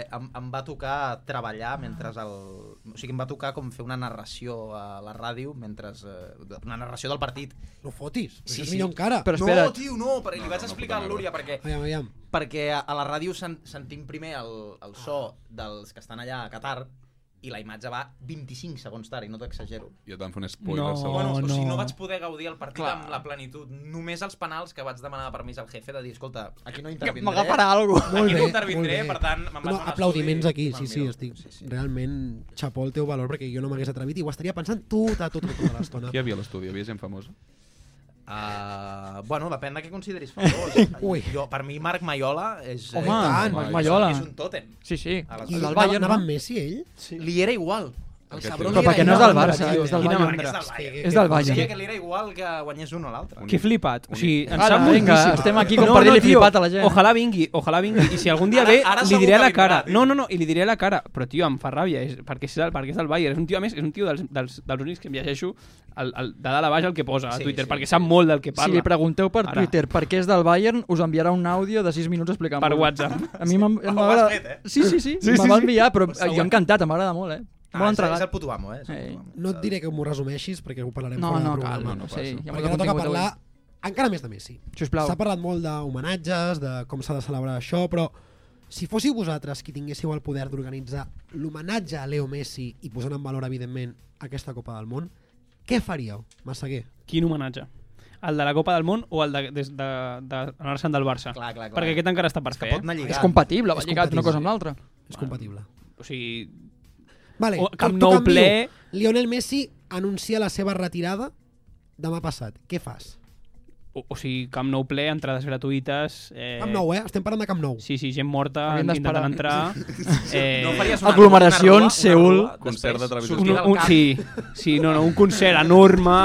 S4: em, em va tocar treballar mentre el... O sigui, em va tocar com fer una narració a la ràdio mentre... Eh, una narració del partit.
S3: No fotis, això és millor encara.
S4: Però
S3: Però
S4: espera. No,
S3: espera't.
S4: tio, no, perquè
S3: No,
S4: li vaig
S3: no, no, puta
S4: explicar a
S3: merda.
S4: l'Úria perquè...
S3: Aviam, aviam.
S4: Perquè a, a la ràdio sen, sentim primer el, el so
S3: Ah.
S4: dels que estan allà a Qatar i la imatge va 25 segons tard, i no t'exagero.
S1: I et van fer un spoiler,
S6: No,
S1: segur.
S4: Bueno, o sigui,
S6: no.
S4: no vaig poder gaudir el partit Clar. amb la plenitud. Només els penals que vaig demanar permís al jefe de dir, escolta, aquí no intervindré.
S2: m'agafarà algú.
S4: Aquí no intervindré, per tant, me'n vaig
S3: no,
S4: a un
S3: aplaudiments aquí,
S4: estudi i
S3: sí,
S4: me'l
S3: sí,
S4: miro.
S3: estic sí, sí. realment xapó el teu valor perquè jo no m'hagués atrevit i ho estaria pensant tota, tota, tota l'estona.
S1: Qui hi havia a l'estudi? Hi havia gent famosa?
S4: Uh, bueno, depèn de què consideris famós.
S3: Ui.
S4: Jo, per mi, Marc Maiola és...
S2: Home,
S4: eh,
S2: tant, Marc Maiola.
S4: És un tòtem.
S2: Sí, sí.
S4: A les-
S3: I
S4: al
S3: el
S4: Bayern,
S3: Bayern, anava
S4: no?
S3: amb Messi, ell?
S4: Sí. Li era igual. El
S1: Aquest
S4: Sabró
S1: tio.
S4: li
S1: Però
S4: era
S1: perquè no és
S4: igual.
S1: del Barça, eh?
S4: Quina
S1: és del
S4: mandra.
S1: Bayern.
S4: És del Bayern.
S1: És del Bayern.
S4: Sabia que li era igual que guanyés un o l'altre.
S6: Que flipat. O sigui, ens
S2: Ara,
S6: sap moltíssim.
S2: vinga, estem aquí compartint-li
S6: tio,
S2: flipat a la gent.
S6: Ojalà vingui, ojalà vingui. I si algun dia
S4: Ara-
S6: ve,
S4: ara
S6: li
S4: segur
S6: diré a
S4: que
S6: la
S4: vindrà,
S6: cara.
S4: tio.
S6: No, no, no, i li diré a la cara. Però, tio, em fa ràbia, és, perquè, és del, perquè és del Bayern. És un tio, a més, és un tio dels, dels, dels únics que em llegeixo el, el, de dalt a baix el que posa a
S2: Sí,
S6: Twitter,
S2: sí,
S6: perquè
S2: sí.
S6: sap molt del que parla.
S2: Si li pregunteu per
S6: Ara.
S2: Twitter per què és del Bayern, us enviarà un àudio de 6 minuts explicant-ho.
S6: Per WhatsApp.
S2: A mi m'ha-
S6: Ho has
S2: m'agrada...
S6: fet, eh?
S2: Sí, sí, sí.
S6: Sí,
S2: sí, sí
S6: sí,
S2: va
S6: sí.
S2: enviar, però
S6: Pues
S2: jo
S6: següent.
S2: encantat, m'agrada molt, eh?
S4: Ah,
S2: molt
S4: és-
S2: entregat.
S4: és el puto amo, eh? És el
S2: Ei.
S3: No et diré que m'ho resumeixis perquè ho parlarem
S2: No,
S3: fora
S2: no,
S3: del
S2: cal,
S3: programa.
S2: no, no, sí, hi ha molt de
S3: perquè ara toca
S2: contingut
S3: parlar
S2: avui.
S3: encara més de Messi.
S2: Sisplau.
S3: S'ha parlat molt d'homenatges, de com s'ha de celebrar això, però si fóssiu vosaltres qui tinguéssiu el poder d'organitzar l'homenatge a Leo Messi i posant en valor, evidentment, aquesta Copa del Món, què faríeu, Massaguer?
S6: Quin homenatge? El de la Copa del Món o el de, des de, de anar-se'n del Barça?
S4: Clar, clar, clar.
S6: Perquè aquest encara està eh? per fer.
S4: pot anar lligat.
S2: És compatible, va
S3: És
S2: lligat una
S3: compatible.
S2: cosa amb l'altra.
S3: És compatible.
S6: O sigui...
S3: Vale,
S6: o, Camp
S3: tu
S6: Nou
S3: canvio.
S6: ple...
S3: Lionel Messi anuncia la seva retirada demà passat. Què fas?
S6: O, o sigui, Camp Nou ple, entrades gratuïtes... Eh...
S3: Camp Nou, eh? Estem parlant de Camp Nou.
S6: Sí, sí, gent morta,
S3: Havien
S6: intentant
S3: d'esperar.
S6: entrar... Eh,
S3: No faries una- Aglomeracions,
S1: una rua, una rua, Seül. concert de televisió.
S6: Un,
S1: sortir del
S6: un,
S1: camp.
S6: sí, sí, no, no, un concert enorme,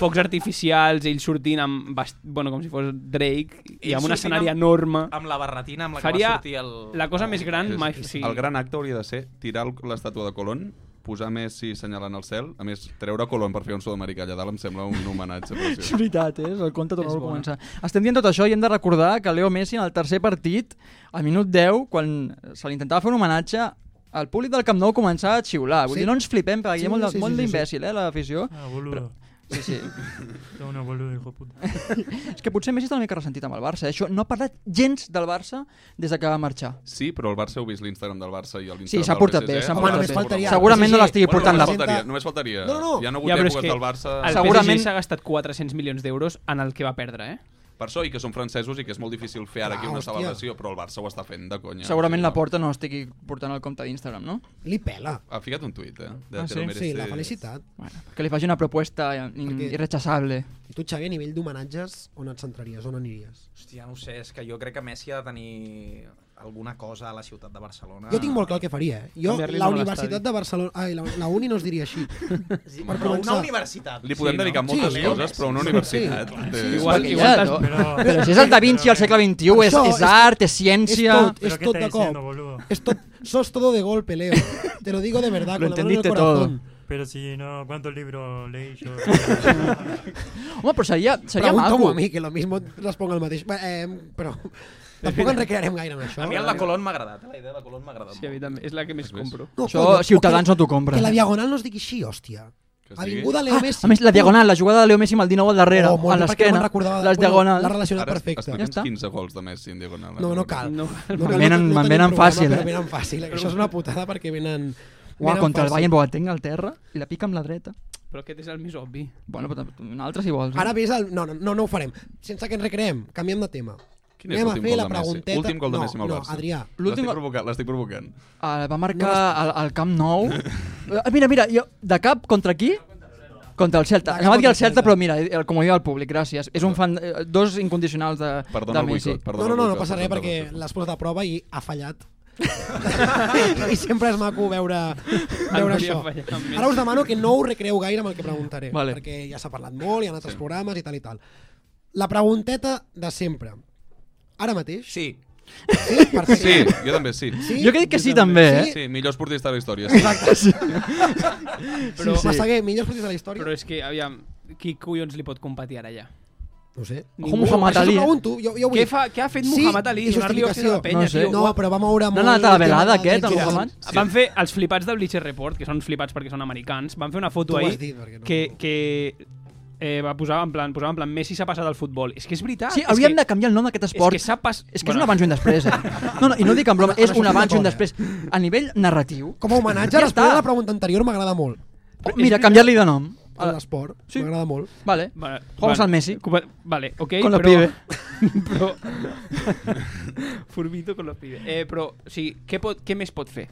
S6: focs artificials, ell sortint amb, bast... bueno, com si fos Drake, i
S4: Ell
S6: amb un
S4: sortint
S6: escenari
S4: amb-
S6: enorme.
S4: amb la barretina amb la que
S6: Faria
S4: va sortir el-
S6: la cosa
S4: el-
S6: més gran
S1: És-
S6: mai...
S1: és-
S6: Sí.
S1: El gran acte hauria de ser tirar el- l'estàtua de Colón, posar Messi assenyalant el cel, a més, treure Colón per fer un sud-americà allà dalt em sembla un homenatge.
S2: És
S1: preciós.
S2: veritat, eh? És el conte tornar a
S1: bona.
S2: començar. Estem dient tot això i hem de recordar que Leo Messi en el tercer partit, al minut 10, quan se li intentava fer un homenatge, el públic del Camp Nou començava a xiular. Vull
S5: Sí.
S2: dir, no ens flipem, perquè
S5: Sí,
S2: hi ha molt,
S5: sí, sí,
S2: sí, molt
S5: sí, sí.
S2: d'imbècil, eh, l'afició.
S5: Ah, boludo.
S2: Sí, sí.
S5: Todo una boludo, hijo de puta.
S2: És que potser Messi està una mica ressentit amb el Barça. eh? Això no ha parlat gens del Barça des de que va marxar.
S1: Sí, però el Barça heu vist l'Instagram del Barça i l'Instagram
S2: Sí, s'ha portat bé, s'ha portat bé.
S1: Faltaria...
S2: Segurament no l'estigui
S1: Bueno,
S2: portant la...
S1: només faltaria, només faltaria. Hi ha hagut
S6: Ja, però és
S1: èpoques
S6: que
S1: del Barça...
S6: El Segurament s'ha gastat 400 milions d'euros en el que va perdre, eh?
S1: Per això, i que són francesos i que és molt difícil fer ara aquí
S6: Ah,
S1: una
S6: hòstia.
S1: celebració, però el Barça ho està fent de eh. conya.
S2: Segurament la porta no estigui portant el compte d'Instagram, no?
S3: Li pela.
S1: Ha ficat un tuit, eh?
S2: Ah, sí?
S1: "Te lo mereces".
S3: Sí, la felicitat.
S2: Bueno, que li faci una proposta eh, in- irrechazable.
S3: I tu, Xavi, a nivell d'homenatges, on et centraries? On aniries?
S4: Hòstia, no ho sé, és que jo crec que Messi ha de tenir alguna cosa a la ciutat de Barcelona...
S3: Ah. Jo tinc molt clar el que faria, eh? Jo,
S4: Canviar-li
S3: la
S4: molt
S3: Universitat de Barcelona... Ai, la, la Uni no es diria així.
S4: Sí, però una universitat.
S1: Li podem dedicar moltes coses, però una universitat...
S3: Sí,
S1: té-
S3: sí,
S2: Igual-
S3: perquè
S2: igual t'has- però- Però si és el Da Vinci al segle XXI, és-
S3: Això
S2: és art, és
S3: És
S2: ciència.
S3: tot,
S2: Però
S3: és
S2: què
S3: tot
S2: está
S3: de
S2: diciendo,
S3: cop. És tot, sos todo de golpe, Leo. Te lo digo de verdad, con la mano en el corazón.
S5: Pero si no, ¿cuántos libros leí yo?
S2: Home, però seria, seria
S3: Pregunta-ho
S2: maco.
S3: a mi, que lo mismo responc el mateix. Va, Eh, però tampoc ens recrearem gaire en això.
S4: A mi el de Colón m'ha agradat, eh? la idea de Colón m'ha agradat.
S6: Sí, a mi també. És la que més compro.
S3: No,
S2: Això
S3: coño,
S2: Ciutadans
S3: o que-
S2: no t'ho compra.
S3: Que la Diagonal no es digui així, hòstia. Avinguda Leo Messi.
S2: Ah, a més, la diagonal, la jugada de Leo Messi amb el 19 al darrere,
S3: Oh, molt bé,
S2: a
S3: perquè no
S2: l'esquena,
S3: me'n recordava de-
S2: les
S3: bueno,
S2: diagonals.
S3: la relacionat
S1: Ara
S3: perfecta.
S1: explica'ns
S3: Ja està.
S1: 15 gols de Messi en diagonal. eh.
S3: No, no cal. No, cal,
S2: Me'n venen- me'n
S3: tenim
S2: venen
S3: programa,
S2: fàcil,
S3: però
S2: eh?
S3: venen fàcil. Això és una putada perquè venen...
S2: Uah,
S3: venen
S2: contra el
S3: fàcil.
S2: Bayern Boateng al terra i la pica amb la dreta.
S6: Però aquest és el més obvi.
S2: Bueno, però un altre si vols. eh?
S3: Ara ves el... No, no, no, no ho farem. Sense que ens recreem. Canviem de tema.
S1: Quin és
S3: Anem a
S1: l'últim
S3: fer
S1: gol
S3: la
S1: de Messi?
S3: pregunteta...
S1: Últim gol de
S3: no,
S1: Messi amb el
S3: no,
S1: Barça.
S3: Adrià.
S1: L'estic provocant, l'estic provocant.
S2: El Ah, va marcar al, al Camp Nou. Eh, Mira, mira, jo, de cap contra qui? Contra el Celta. Anava a dir el Celta, però mira, eh, com ho diu el públic, gràcies. És un fan, eh, dos incondicionals de,
S1: Perdona
S2: de
S1: el
S2: Messi.
S1: boicot, perdona
S3: No, no, no, no passa res perquè l'has posat a prova i ha fallat. I sempre és maco veure, veure
S6: volia
S3: això.
S6: fallar amb
S3: Ara us demano que no us recreeu gaire amb el que preguntaré,
S6: Vale.
S3: perquè ja s'ha parlat molt, hi ha altres programes i tal i tal. La pregunteta de sempre. Ara mateix?
S4: Sí.
S3: Sí, perfecte.
S1: Sí, jo també, sí.
S3: Sí? Jo crec que sí, també, eh?
S1: Sí, millor esportista de la història. Sí.
S3: Exacte. Sí.
S6: Però-
S3: Però, sí, sí. Massaguer, millor esportista de la història?
S6: Però és que, aviam, qui collons li pot competir ara allà?
S3: No ho sé. Ojo,
S6: Ningú.
S3: Muhammad Això Ali, s'ho eh? pregunto, jo- jo vull
S6: què,
S3: dir-
S6: fa, què ha fet
S3: Sí,
S6: Muhammad Ali?
S3: i
S6: Donar-li opció de
S3: justificació.
S6: la penya,
S3: No sé.
S6: tio.
S3: No,
S6: Guau.
S3: però va moure No ha molt anat a la velada, el aquest, el Mira, Muhammad? sí.
S6: Van fer els flipats del Bleacher Report, que són flipats perquè són americans, van fer una
S3: Tu
S6: foto
S3: ho
S6: ahir
S3: has dit, perquè no-
S6: que, que eh, va posar en plan, posava en plan Messi s'ha passat al futbol. És que és veritat.
S2: Sí,
S6: és
S2: hauríem
S6: que-
S2: de canviar el nom d'aquest esport.
S6: És que s'ha pas...
S2: És que és un abans i un després, eh? No, no, i no dic en broma, és un abans i un després. A nivell narratiu...
S3: Com a homenatge,
S2: Ja
S3: responent
S2: està.
S3: a la pregunta anterior m'agrada molt.
S2: Oh, Mira, canviar-li de nom. Ah,
S3: A l'esport,
S2: Sí.
S3: m'agrada molt.
S2: Vale.
S6: Vale,
S2: Juegos
S6: vale.
S2: al Messi.
S6: Compa- Vale, ok,
S2: Con la
S6: però...
S2: pibe.
S6: però... Furbito con la pibe. Eh, però, o sigui, què, pot, què més pot fer?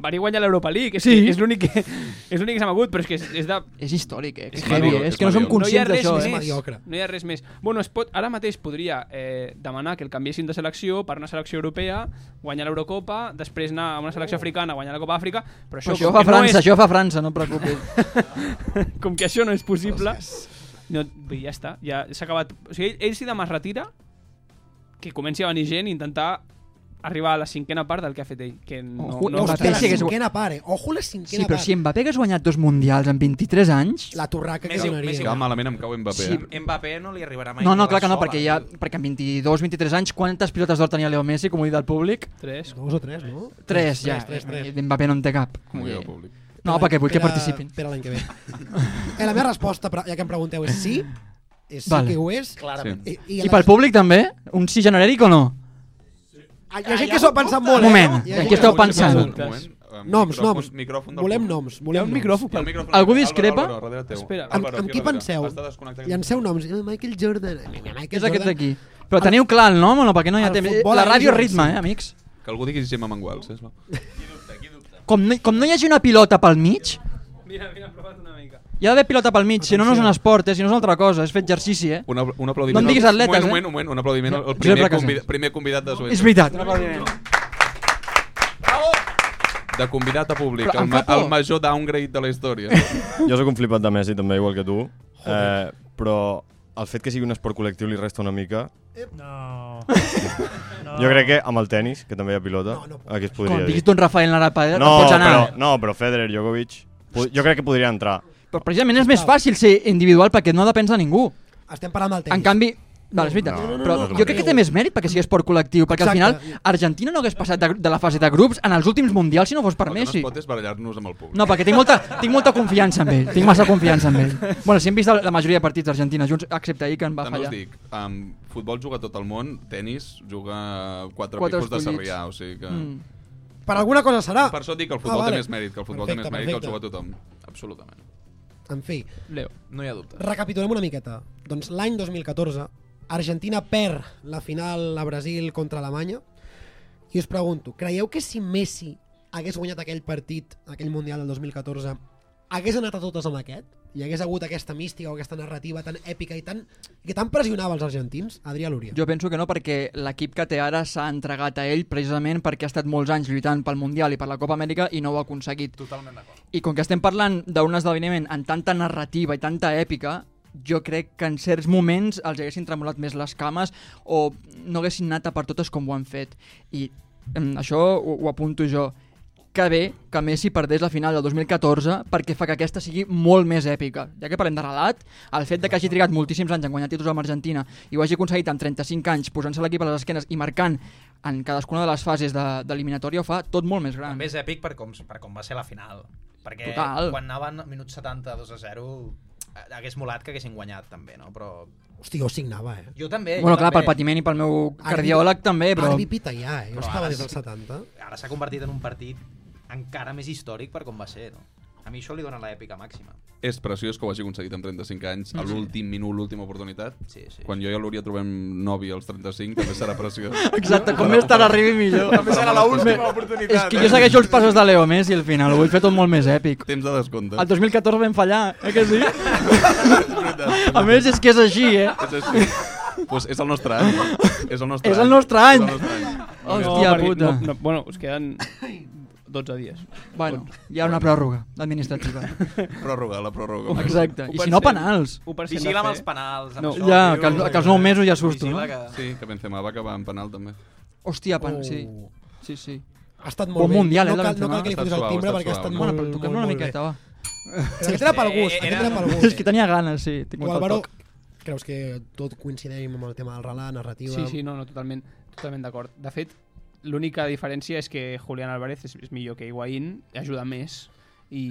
S6: Bari guanya l'Europa League, és,
S2: Sí.
S6: que és l'únic que, és l'únic que s'ha m'agut, però és que és, és de...
S2: És històric, eh? Que heavy, eh? És que no som conscients d'això, eh? És mediocre.
S6: No hi ha res més. Bueno, es pot, ara mateix podria eh, demanar que el canviessin de selecció per una selecció europea, guanyar l'Eurocopa, després anar a una selecció africana, guanyar la Copa Àfrica, però
S2: Oh. Això, això
S6: això, com
S2: fa
S6: que no
S2: França,
S6: és-
S2: això fa França, no et preocupis.
S6: com que això no és possible no, vull dir, ja està, ja s'ha acabat o sigui, ell, ell si demà es retira que comenci a venir gent i intentar arribar a la cinquena part del que ha fet ell que no,
S2: Ojo,
S6: no,
S2: la
S3: Oh, Hòstia, la
S2: sí que és-
S3: cinquena part, eh? Ojo la cinquena
S2: Sí, però
S3: part.
S2: si Mbappé hagués guanyat dos mundials en 23 anys...
S3: La torraca que
S4: Messi-
S3: donaria.
S4: Messi-
S1: Que malament em cau Mbappé. eh.
S2: Sí.
S1: Sí.
S4: Mbappé no li arribarà mai.
S2: No,
S4: ni
S2: no,
S4: la
S2: clar que no,
S4: sola.
S2: perquè, ja, perquè amb 22, 23 anys, quantes pilotes d'or tenia Leo Messi, com ho he dit al públic?
S6: 3
S3: Dos o tres, no?
S2: 3, ja.
S3: Tres, tres, tres.
S2: Mbappé no en té cap. Eh,
S1: Com ho diu el públic.
S2: No, perquè vull que
S3: Per a-
S2: participin.
S3: Per a l'any que ve. eh, la meva resposta, però, ja que em pregunteu, és sí? És sí
S2: Vale.
S3: que ho és?
S2: Clarament.
S3: I,
S2: I pel públic també? Un sí genèric o no?
S3: Ah, Hi ha gent que s'ho ha pensat molt, eh?
S2: Moment,
S3: Hi ha gent
S2: en
S3: que
S2: què esteu
S3: s'ho ha pensat
S2: pensant?
S3: molt. Noms, noms.
S1: Micròfon del
S3: Volem
S1: públic.
S3: noms.
S1: Hi
S3: Volem noms.
S1: ha un micròfon
S2: Algú
S1: del-
S2: discrepa?
S1: Álvaro, Álvaro, darrere teu.
S6: Espera.
S3: Amb,
S1: Álvaro,
S3: amb
S1: aquí
S3: qui
S1: darrere.
S3: penseu?
S1: Està desconnectat.
S3: Llanceu noms. Eh, Michael Jordan. eh,
S2: Què
S3: Michael
S2: és aquest
S3: Jordan.
S2: d'aquí? Però teniu clar el nom o no? Perquè no hi ha
S3: El
S2: temps.
S3: futbol
S2: La
S3: és
S2: ràdio és
S3: un-
S2: ritme, eh, amics?
S1: Que algú digui Gemma Mangual, sisplau.
S2: Com no, com no hi hagi una pilota pel mig,
S6: mira, mira, prova't una mica
S2: hi ha d'haver pilota pel mig, si no no és un esport, eh, si no és una altra cosa, és fer exercici, eh?
S1: Un, apl- un aplaudiment.
S2: No em diguis
S1: al-
S2: atletes,
S1: un moment,
S2: eh?
S1: Un moment, un aplaudiment al al
S2: Josep
S1: primer,
S2: Fracasés.
S1: convida, primer convidat de Suècia.
S2: És veritat.
S1: De convidat a públic,
S2: Però
S1: el,
S2: em
S1: ma
S2: fa por.
S1: el major downgrade de la història.
S14: Jo sóc un flipat de Messi, també, igual que tu. Eh, però el fet que sigui un esport col·lectiu li resta una mica.
S5: No.
S14: Jo crec que amb el tennis, que també hi ha pilota, no, no aquí es podria
S2: Com
S14: dir.
S2: diguis tu en Rafael Nadal, pa-
S14: no,
S2: pots anar,
S14: Però,
S2: eh?
S14: no, però Federer, Djokovic, po- jo crec que podria entrar.
S2: Però precisament és més fàcil ser individual perquè no depens de ningú.
S3: Estem parlant del tenis.
S2: En canvi, Vale, és veritat.
S3: No, no, no,
S2: però
S3: no, no,
S2: jo crec que té més mèrit perquè sigui esport col·lectiu, perquè al
S3: Exacte.
S2: final Argentina no hagués passat de, gru- de la fase de grups en els últims mundials si no fos per
S1: El que no
S2: Messi.
S1: es pot és barallar-nos amb el públic.
S2: No, perquè tinc molta, tinc molta confiança en ell, tinc massa confiança en ell. Bueno, si hem vist la, la majoria de partits d'Argentina junts, excepte ahir que en va
S1: També us
S2: fallar.
S1: dic, um, futbol juga tot el món, tennis juga quatre,
S2: Quatre
S1: picos de
S2: escollits.
S1: Sarrià, o sigui que...
S2: Mm.
S3: Per alguna cosa serà. Ah,
S1: Per això et dic que el futbol té més mèrit, que el futbol
S3: perfecte,
S1: té més mèrit
S3: perfecte.
S1: que el juga tothom. Absolutament.
S3: En fi,
S6: Leo.
S4: No hi ha dubte.
S3: recapitulem una miqueta. Doncs l'any 2014, Argentina perd la final a Brasil contra Alemanya. I us pregunto, creieu que si Messi hagués guanyat aquell partit, aquell Mundial del 2014, hagués anat a totes amb aquest? hi hagués hagut aquesta mística o aquesta narrativa tan èpica i tan, que tan pressionava els argentins, Adrià Lúria.
S2: Jo penso que no, perquè l'equip que té ara s'ha entregat a ell precisament perquè ha estat molts anys lluitant pel Mundial i per la Copa Amèrica i no ho ha aconseguit.
S4: Totalment d'acord.
S2: I com que estem parlant d'un esdeveniment amb tanta narrativa i tanta èpica, jo crec que en certs moments els haguessin tremolat més les cames o no haguessin anat a per totes com ho han fet. I em, això ho, ho apunto jo. Que bé que Messi perdés la final del 2014 perquè fa que aquesta sigui molt més èpica. Ja que parlem de relat, el fet de que hagi trigat moltíssims anys en guanyar títols amb Argentina i ho hagi aconseguit amb 35 anys posant-se l'equip a les esquenes i marcant en cadascuna de les fases de- d'eliminatòria ho fa tot molt més gran.
S4: També és èpic per com, per com va ser la final.
S2: Ah.
S4: Perquè
S2: Total.
S4: quan anaven minut 70, 2 a 0, eh, hagués molat que haguessin guanyat també, no? Però
S3: Hòstia, jo signava, eh?
S4: jo també...
S2: bueno,
S4: jo
S2: clar,
S4: també.
S2: pel patiment i pel meu cardiòleg també, però...
S3: Arbi pita ja, eh? Jo
S4: Però
S3: estava
S4: ara
S3: des dels
S4: sí.
S3: 70.
S4: Ara s'ha convertit en un partit encara més històric per com va ser, no? A mi això li dona l'èpica màxima.
S1: És preciós que ho hagi aconseguit amb 35 anys, a
S4: Mm.
S1: l'últim minut, l'última oportunitat.
S4: Sí, sí,
S1: Quan jo i l'Hauria trobem novi als 35, també serà preciós.
S2: Exacte, com més tard arribi millor.
S1: També serà la última eh?
S2: oportunitat. És que jo segueixo els passos de Leo Messi al final, ho vull fer tot molt més èpic.
S1: Temps de descompte.
S2: El 2014 vam fallar, eh que sí? A més, és que és així, eh?
S1: És així. Pues és el nostre any. És el nostre
S2: És el
S1: any.
S2: nostre any.
S1: És el nostre any.
S2: Hòstia
S6: perquè
S2: puta.
S6: No, no, bueno, us queden 12 dies.
S2: Bueno, hi ha una pròrroga administrativa.
S1: Pròrroga, la pròrroga.
S2: Exacte. I si no, penals.
S4: Vigila amb els penals, amb
S2: No.
S4: això,
S2: Ja,
S4: tio.
S2: que, els- que els 9 mesos ja surto, no?
S4: Vigila que-
S1: Sí, que Benzema va acabar en penal també.
S2: Hòstia, pan, sí.
S3: Oh.
S2: Sí, sí.
S3: Ha estat molt
S2: Bon
S3: bé.
S2: mundial, eh,
S3: no,
S2: de
S3: cal, no cal
S2: Benzema.
S3: que li
S1: Ha
S3: fotis
S1: estat
S3: el
S1: suau,
S3: timbre
S1: ha estat
S3: perquè ha
S1: suau.
S3: estat
S1: Eh,
S3: molt,
S2: Bueno, però toquem
S3: molt,
S2: una
S3: molt
S2: miqueta, va.
S3: bé. Aquest era pel gust, aquest era pel gust.
S2: És que tenia ganes, sí. Tinc
S3: Tu,
S2: molt
S3: Álvaro,
S2: toc.
S3: creus que tot coincidim amb el tema del relat, narrativa...
S6: Sí, sí, no, no, totalment, totalment d'acord. De fet, l'única diferència és que Julián Álvarez és, és millor que Higuaín, ajuda més i,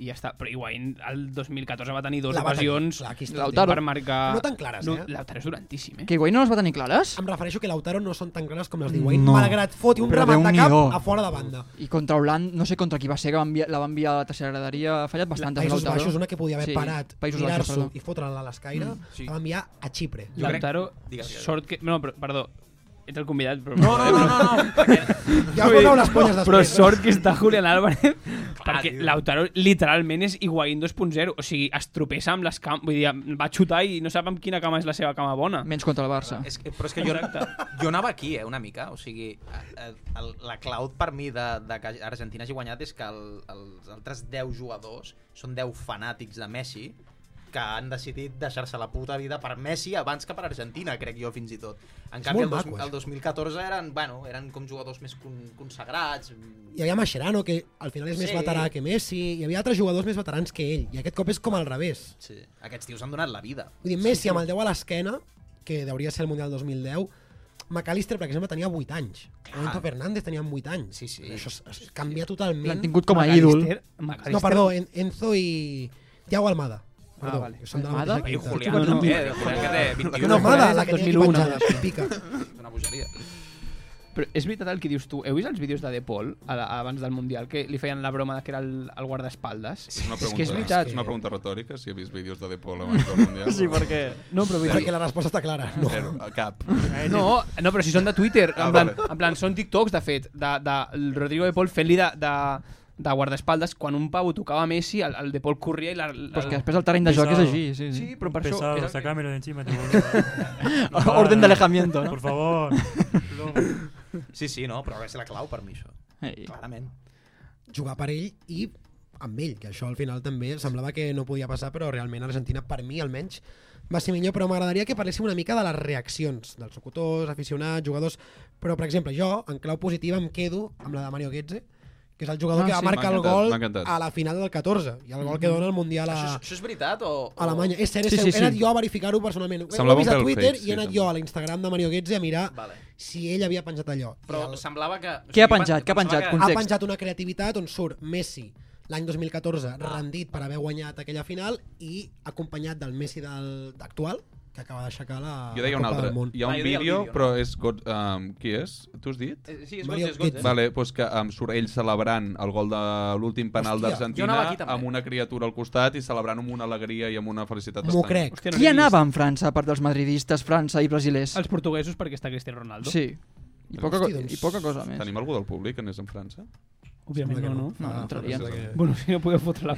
S6: i ja està. Però Higuaín el 2014 va tenir dues
S3: La va tenir,
S6: ocasions
S3: clar, aquí està el
S6: Lautaro.
S3: tema.
S6: per marcar...
S3: No tan clares, eh?
S6: Lautaro és durantíssim, eh?
S2: Que Higuaín no les va tenir clares?
S3: Em refereixo que Lautaro no són tan clares com les diu Wayne,
S2: No.
S3: malgrat foti un
S2: Però
S3: remat de cap
S2: Déu-n'hi-do.
S3: a fora de banda.
S2: I contra Holanda, no sé contra qui va ser, que va enviar, la va enviar a la tercera graderia, ha fallat bastant.
S3: Països Baixos, una que podia haver parat,
S2: Països Baixos,
S3: mirar-s'ho
S2: perdó.
S3: i fotre-la a l'escaire,
S2: Mm,
S3: la va enviar a Xipre.
S6: Jo Lautaro,
S4: Digues, digues.
S6: sort que... No, però, perdó, ets el convidat, però...
S4: No, no, no, no, no, perquè-
S3: Ja veureu les polles després. eh?
S6: Però sort que està Julián Álvarez,
S4: Ah,
S6: perquè Lautaro literalment és Higuaín 2.0, o sigui, es tropessa amb les cames, vull dir, va xutar i no sap amb quina cama és la seva cama bona.
S2: Menys contra el Barça.
S4: És que, però és que jo, jo anava aquí, eh, una mica. O sigui, eh, el, la clau per mi de, de que Argentina hagi guanyat és que el, els altres 10 jugadors són 10 fanàtics de Messi que han decidit deixar-se la puta vida per Messi abans que per Argentina, crec jo, fins i tot. En
S3: És
S4: canvi,
S3: molt
S4: el, dos,
S3: maco, això.
S4: el 2014 eren, bueno, eren com jugadors més con, consagrats. mm,
S3: Hi havia Mascherano, que al final és més
S4: Sí.
S3: veterà que Messi, hi havia altres jugadors més veterans que ell, i aquest cop és com al revés.
S4: Sí, aquests tios han donat la vida.
S3: Vull dir, Messi amb el 10 a l'esquena, que hauria ser el Mundial 2010, McAllister, per exemple, tenia 8 anys. Alonso Fernández tenia 8 anys. Sí, sí. Això es, es canvia totalment.
S2: L'han tingut com a ídol. McAllister-
S3: No,
S2: McAllister-
S3: perdó, en, Enzo i Thiago Almada. Perdó,
S6: Ah, vale.
S3: que són de la
S6: Almada?
S3: mateixa
S6: I
S3: quinta.
S6: Julián, No, no.
S3: eh,
S6: també, de Julián, que té 21.
S3: No, Almada, la que té aquí
S6: 2001,
S3: penjada,
S6: no?
S3: pica.
S4: Una bogeria.
S6: Però és veritat el que dius tu. Heu vist els vídeos de De Paul a la, abans del Mundial que li feien la broma de que era el, el guardaespaldes?
S1: És una
S6: és
S1: pregunta,
S6: que és veritat.
S1: una pregunta retòrica, si he vist vídeos de De Paul abans del Mundial.
S6: Sí, perquè- No, però vull dir-
S3: Perquè la resposta està clara. No.
S1: Zero, a cap.
S6: Eh, No, no, però si són de Twitter,
S1: Ah,
S6: en plan,
S1: vale.
S6: en plan són TikToks, de fet, de, de el Rodrigo de Paul fent-li de, de, de guardaespaldes, quan un pavo tocava Messi, el, el de Paul corria i la... la
S2: Però és que després el terreny de joc és així, sí, sí.
S6: Sí, però per
S5: Pesado,
S6: això... Era...
S5: sacámelo de encima, te boludo. No,
S2: Orden
S5: no,
S2: de alejamiento, ¿no?
S5: Por favor.
S4: Sí, sí, no, però és la clau per mi, això.
S2: Ei.
S4: Clarament.
S3: Jugar per ell i amb ell, que això al final també semblava que no podia passar, però realment Argentina, per mi almenys, va ser millor, però m'agradaria que parléssim una mica de les reaccions dels locutors, aficionats, jugadors, però per exemple, jo, en clau positiva, em quedo amb la de Mario Goetze, que és el jugador
S1: Ah,
S3: que va
S1: sí, m'ha
S3: marcar el
S1: encantat,
S3: gol
S1: m'ha encantat. Mm-hmm.
S3: a la final del 14, i el gol que dona el Mundial a,
S4: Això, és- això és veritat o... o...
S3: a Alemanya. És cert, és
S2: Sí,
S3: sí,
S2: sí,
S3: sí,
S2: sí.
S3: he anat jo a verificar-ho personalment. Ho he
S1: Semblava
S3: vist a
S1: un pèl
S3: Twitter
S1: fake,
S3: i he anat
S1: sí,
S3: jo a l'Instagram de Mario Goetze a mirar
S4: Vale.
S3: si ell havia penjat allò.
S4: Però semblava que...
S2: Què ha
S4: pen-
S2: penjat? Què ha
S4: pensava
S2: penjat?
S4: que-
S2: Context.
S3: Ha penjat una creativitat on surt Messi l'any 2014 rendit per haver guanyat aquella final i acompanyat del Messi del, actual que acaba d'aixecar la,
S1: Jo deia un
S3: la Copa
S1: altre.
S3: del Món.
S1: Hi
S4: Ah,
S1: ha un vídeo, però és... Got, um, qui és? Tu has dit?
S4: Eh, Sí, és
S3: Mario
S4: Mario Götze, és Götze.
S1: Vale, doncs que um, surt ell celebrant el gol de l'últim penal
S3: Hòstia,
S4: jo
S1: d'Argentina
S4: anava aquí, també.
S1: amb una criatura al costat i celebrant amb una alegria i amb una felicitat
S3: M'ho crec.
S6: Hòstia, no
S2: Qui
S6: l'he
S2: anava amb França per dels madridistes, França i brasilers?
S6: Els portuguesos perquè està Cristiano Ronaldo.
S2: Sí. I poca, co-
S3: Hosti, doncs,
S2: i poca cosa més.
S1: Tenim algú del públic que anés en França?
S6: Òbviament
S3: Sembla que
S6: no, no.
S3: no. Ah, No, no,
S6: entraria.
S3: sembla que-
S6: Bueno, si no podeu fotre la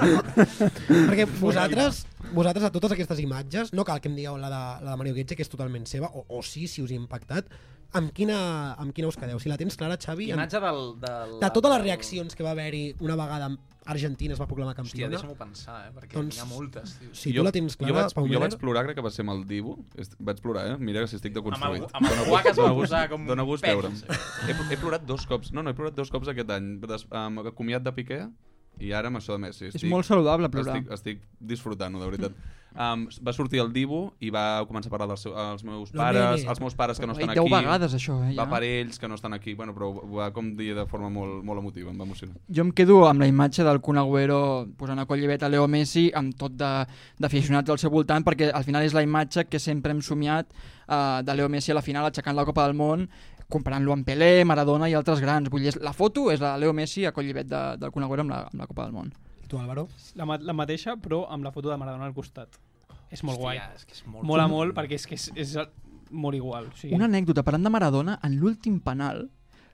S3: Perquè vosaltres, vosaltres a totes aquestes imatges, no cal que em digueu la de, la de Mario Goetze, que és totalment seva, o, o sí, si us he impactat, amb quina, amb quina us quedeu? Si la tens clara, Xavi? amb-
S4: Imatge del... del
S3: De totes les reaccions que va haver-hi una vegada Argentina es va proclamar
S4: Hòstia,
S3: campiona.
S4: deixa-m'ho pensar, eh? Perquè
S3: Doncs,
S4: hi ha moltes, tio.
S3: Si tu la tens clara,
S1: jo vaig,
S3: Pau
S1: jo
S3: Miller-
S1: vaig plorar, crec que va ser amb el Dibu. Est- Vaig plorar, eh? Mira que si estic deconstruït.
S4: Amb el- amb el guà que es va posar com
S1: Dóna gust
S4: pell.
S1: veure'm. He, he plorat dos cops. No, no, he plorat dos cops aquest any. Des, amb acomiat de Piqué i ara amb això de Messi. Estic,
S2: molt saludable plorar.
S1: Estic, estic disfrutant-ho, de veritat. Um, va sortir el Dibu i va començar a parlar dels, seu, als meus
S2: Lo
S1: pares,
S2: nene.
S1: els meus pares que no
S2: Ho he
S1: estan
S2: dit deu
S1: aquí.
S2: vegades, això, eh,
S1: Va
S2: ja.
S1: per ells que no estan aquí, bueno, però ho va com dir de forma molt, molt emotiva, em va emocionar.
S2: Jo em quedo amb la imatge del Kun Agüero posant a collibet a Leo Messi amb tot de- d'aficionats al seu voltant perquè al final és la imatge que sempre hem somiat eh, de Leo Messi a la final aixecant la Copa del Món comparant-lo amb Pelé, Maradona i altres grans. Vull dir, és- la foto és la de Leo Messi a collibet de, del Kun Agüero amb la, amb la Copa del Món.
S3: Tu, Álvaro?
S6: La, ma- la mateixa, però amb la foto de Maradona al costat. És molt
S4: Hòstia,
S6: guai.
S4: és que és molt
S6: Mola
S4: xulo.
S6: molt perquè és que és, és el- molt igual. O sigui,
S2: Una anècdota, parlant de Maradona, en l'últim penal,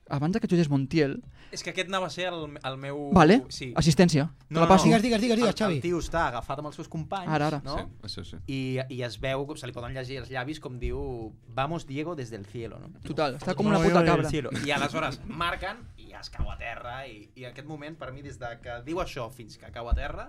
S2: abans de que jutges Montiel,
S4: És que aquest anava a ser el, el meu...
S2: Vale. Assistència. Te la passo. Digues, digues, digues, digues,
S4: el,
S2: Xavi.
S4: El tio està agafat amb els seus companys,
S2: Ara, ara.
S4: no?
S1: Sí, això sí.
S4: I, I es veu, se li poden llegir els llavis, com diu Vamos Diego des del cielo, no?
S2: Total, està com una puta cabra.
S4: I aleshores marquen i es cau a terra i, i aquest moment, per mi, des de que diu això fins que cau a terra,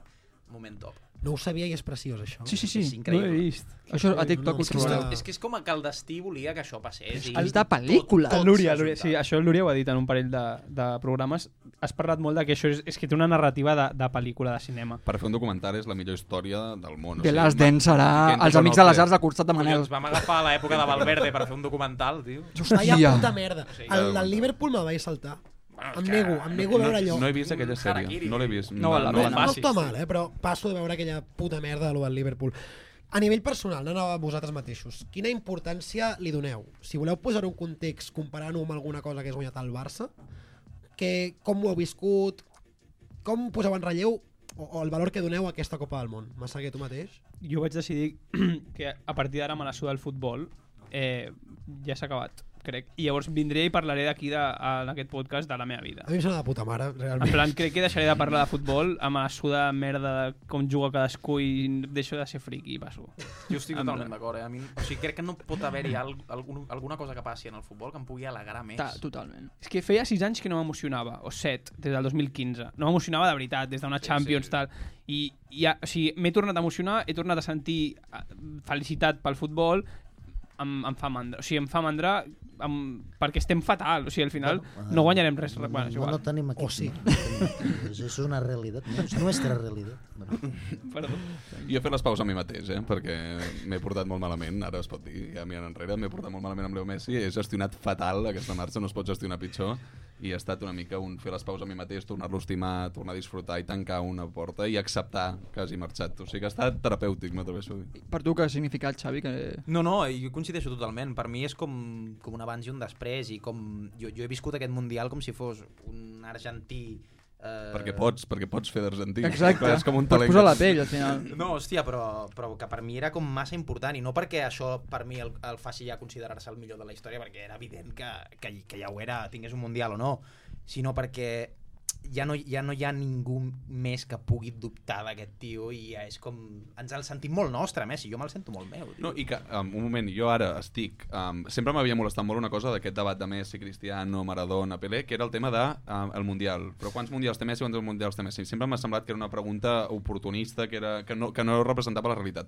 S4: moment top.
S3: No ho sabia i és preciós, això.
S2: Sí, sí, sí.
S4: És increïble.
S2: Ho he vist. Això a TikTok ho
S3: és que
S2: trobareu.
S3: està-
S4: És que és com que el destí volia que això passés.
S2: és de pel·lícula.
S4: Tot,
S6: El
S4: tot
S6: Lúria,
S4: s'ha
S6: Lúria, sí, això el Lúria ho ha dit en un parell de, de programes. Has parlat molt de que això és, és que té una narrativa de, de pel·lícula, de cinema.
S1: Per fer un documental és la millor història del món.
S2: The Last Dance serà Els Amics de les Arts al costat de Manel.
S4: Collons, vam agafar l'època de Valverde per fer un documental, tio.
S3: Vaya puta merda.
S4: Sí.
S3: El, el Liverpool me vaig saltar. Em
S4: que-
S3: nego, em nego a veure allò.
S1: No, no he vist aquella sèrie, no l'he vist.
S2: Mm, No val la
S1: no,
S2: pena.
S3: No està mal, eh? però passo de veure aquella puta merda de lo del Liverpool. A nivell personal, no anava a vosaltres mateixos. Quina importància li doneu? Si voleu posar un context comparant-ho amb alguna cosa que has guanyat al Barça, que, com ho heu viscut, com poseu en relleu o, o el valor que doneu a aquesta Copa del Món? Massaguer, tu mateix?
S6: Jo vaig decidir que a partir d'ara me la suda el futbol. Eh, ja s'ha acabat, crec. I llavors vindré i parlaré d'aquí, de- en aquest podcast, de la meva vida.
S3: A mi em sembla de puta mare,
S6: En
S3: realment.
S6: plan, crec que deixaré de parlar de futbol amb la suda merda de com juga cadascú i deixo de ser friki i passo.
S4: Jo estic
S6: En plan-
S4: totalment d'acord, eh? A mi, o sigui, crec que no pot haver-hi al, algun, alguna cosa que passi en el futbol que em pugui alegrar més.
S6: Ta- totalment. És que feia 6 anys que no m'emocionava, o 7, des del 2015. No m'emocionava de veritat, des d'una sí, Champions, sí. tal. I, i a- o sigui, m'he tornat a emocionar, he tornat a sentir eh, felicitat pel futbol, em, em fa mandra. O sigui, em fa mandra em, perquè estem fatal. O sigui, al final bueno, no guanyarem res. Bueno, és
S13: No,
S6: igual.
S13: no tenim equip.
S6: O sí.
S13: No, no tenim equip. Eso es una realidad. No, es nuestra realidad. Bueno.
S6: Perdó.
S1: Jo he fet les paus a mi mateix, eh? perquè m'he portat molt malament, ara es pot dir, ja mirant enrere, m'he portat molt malament amb Leo Messi, he gestionat fatal aquesta marxa, no es pot gestionar pitjor, i ha estat una mica un fer les paus a mi mateix, tornar-lo a estimar, tornar a disfrutar i tancar una porta i acceptar que hagi marxat. O sigui que ha estat terapèutic, m'atreveixo a dir.
S2: Per tu, què ha significat, Xavi? Que...
S4: No, no, jo coincideixo totalment. Per mi és com, com un abans i un després i com... Jo, jo he viscut aquest Mundial com si fos un argentí... Eh...
S1: Perquè pots, perquè pots fer d'argentí.
S2: Exacte.
S1: Clar, és com un
S2: Pots
S1: talent.
S2: posar la pell, al final.
S4: No, hòstia, però, però que per mi era com massa important i no perquè això per mi el, el faci ja considerar-se el millor de la història perquè era evident que, que, que ja ho era, tingués un Mundial o no, sinó perquè ja no, ja no hi ha ningú més que pugui dubtar d'aquest tio i ja és com... Ens el sentim molt nostre, Messi, jo me'l sento molt meu. Tio.
S1: No, i que, um, un moment, jo ara estic... Um, sempre m'havia molestat molt una cosa d'aquest debat de Messi, Cristiano, Maradona, Pelé, que era el tema de um, el Mundial. Però quants Mundials té Messi, quants Mundials té Messi? Sempre m'ha semblat que era una pregunta oportunista, que, era, que, no, que no representava la realitat.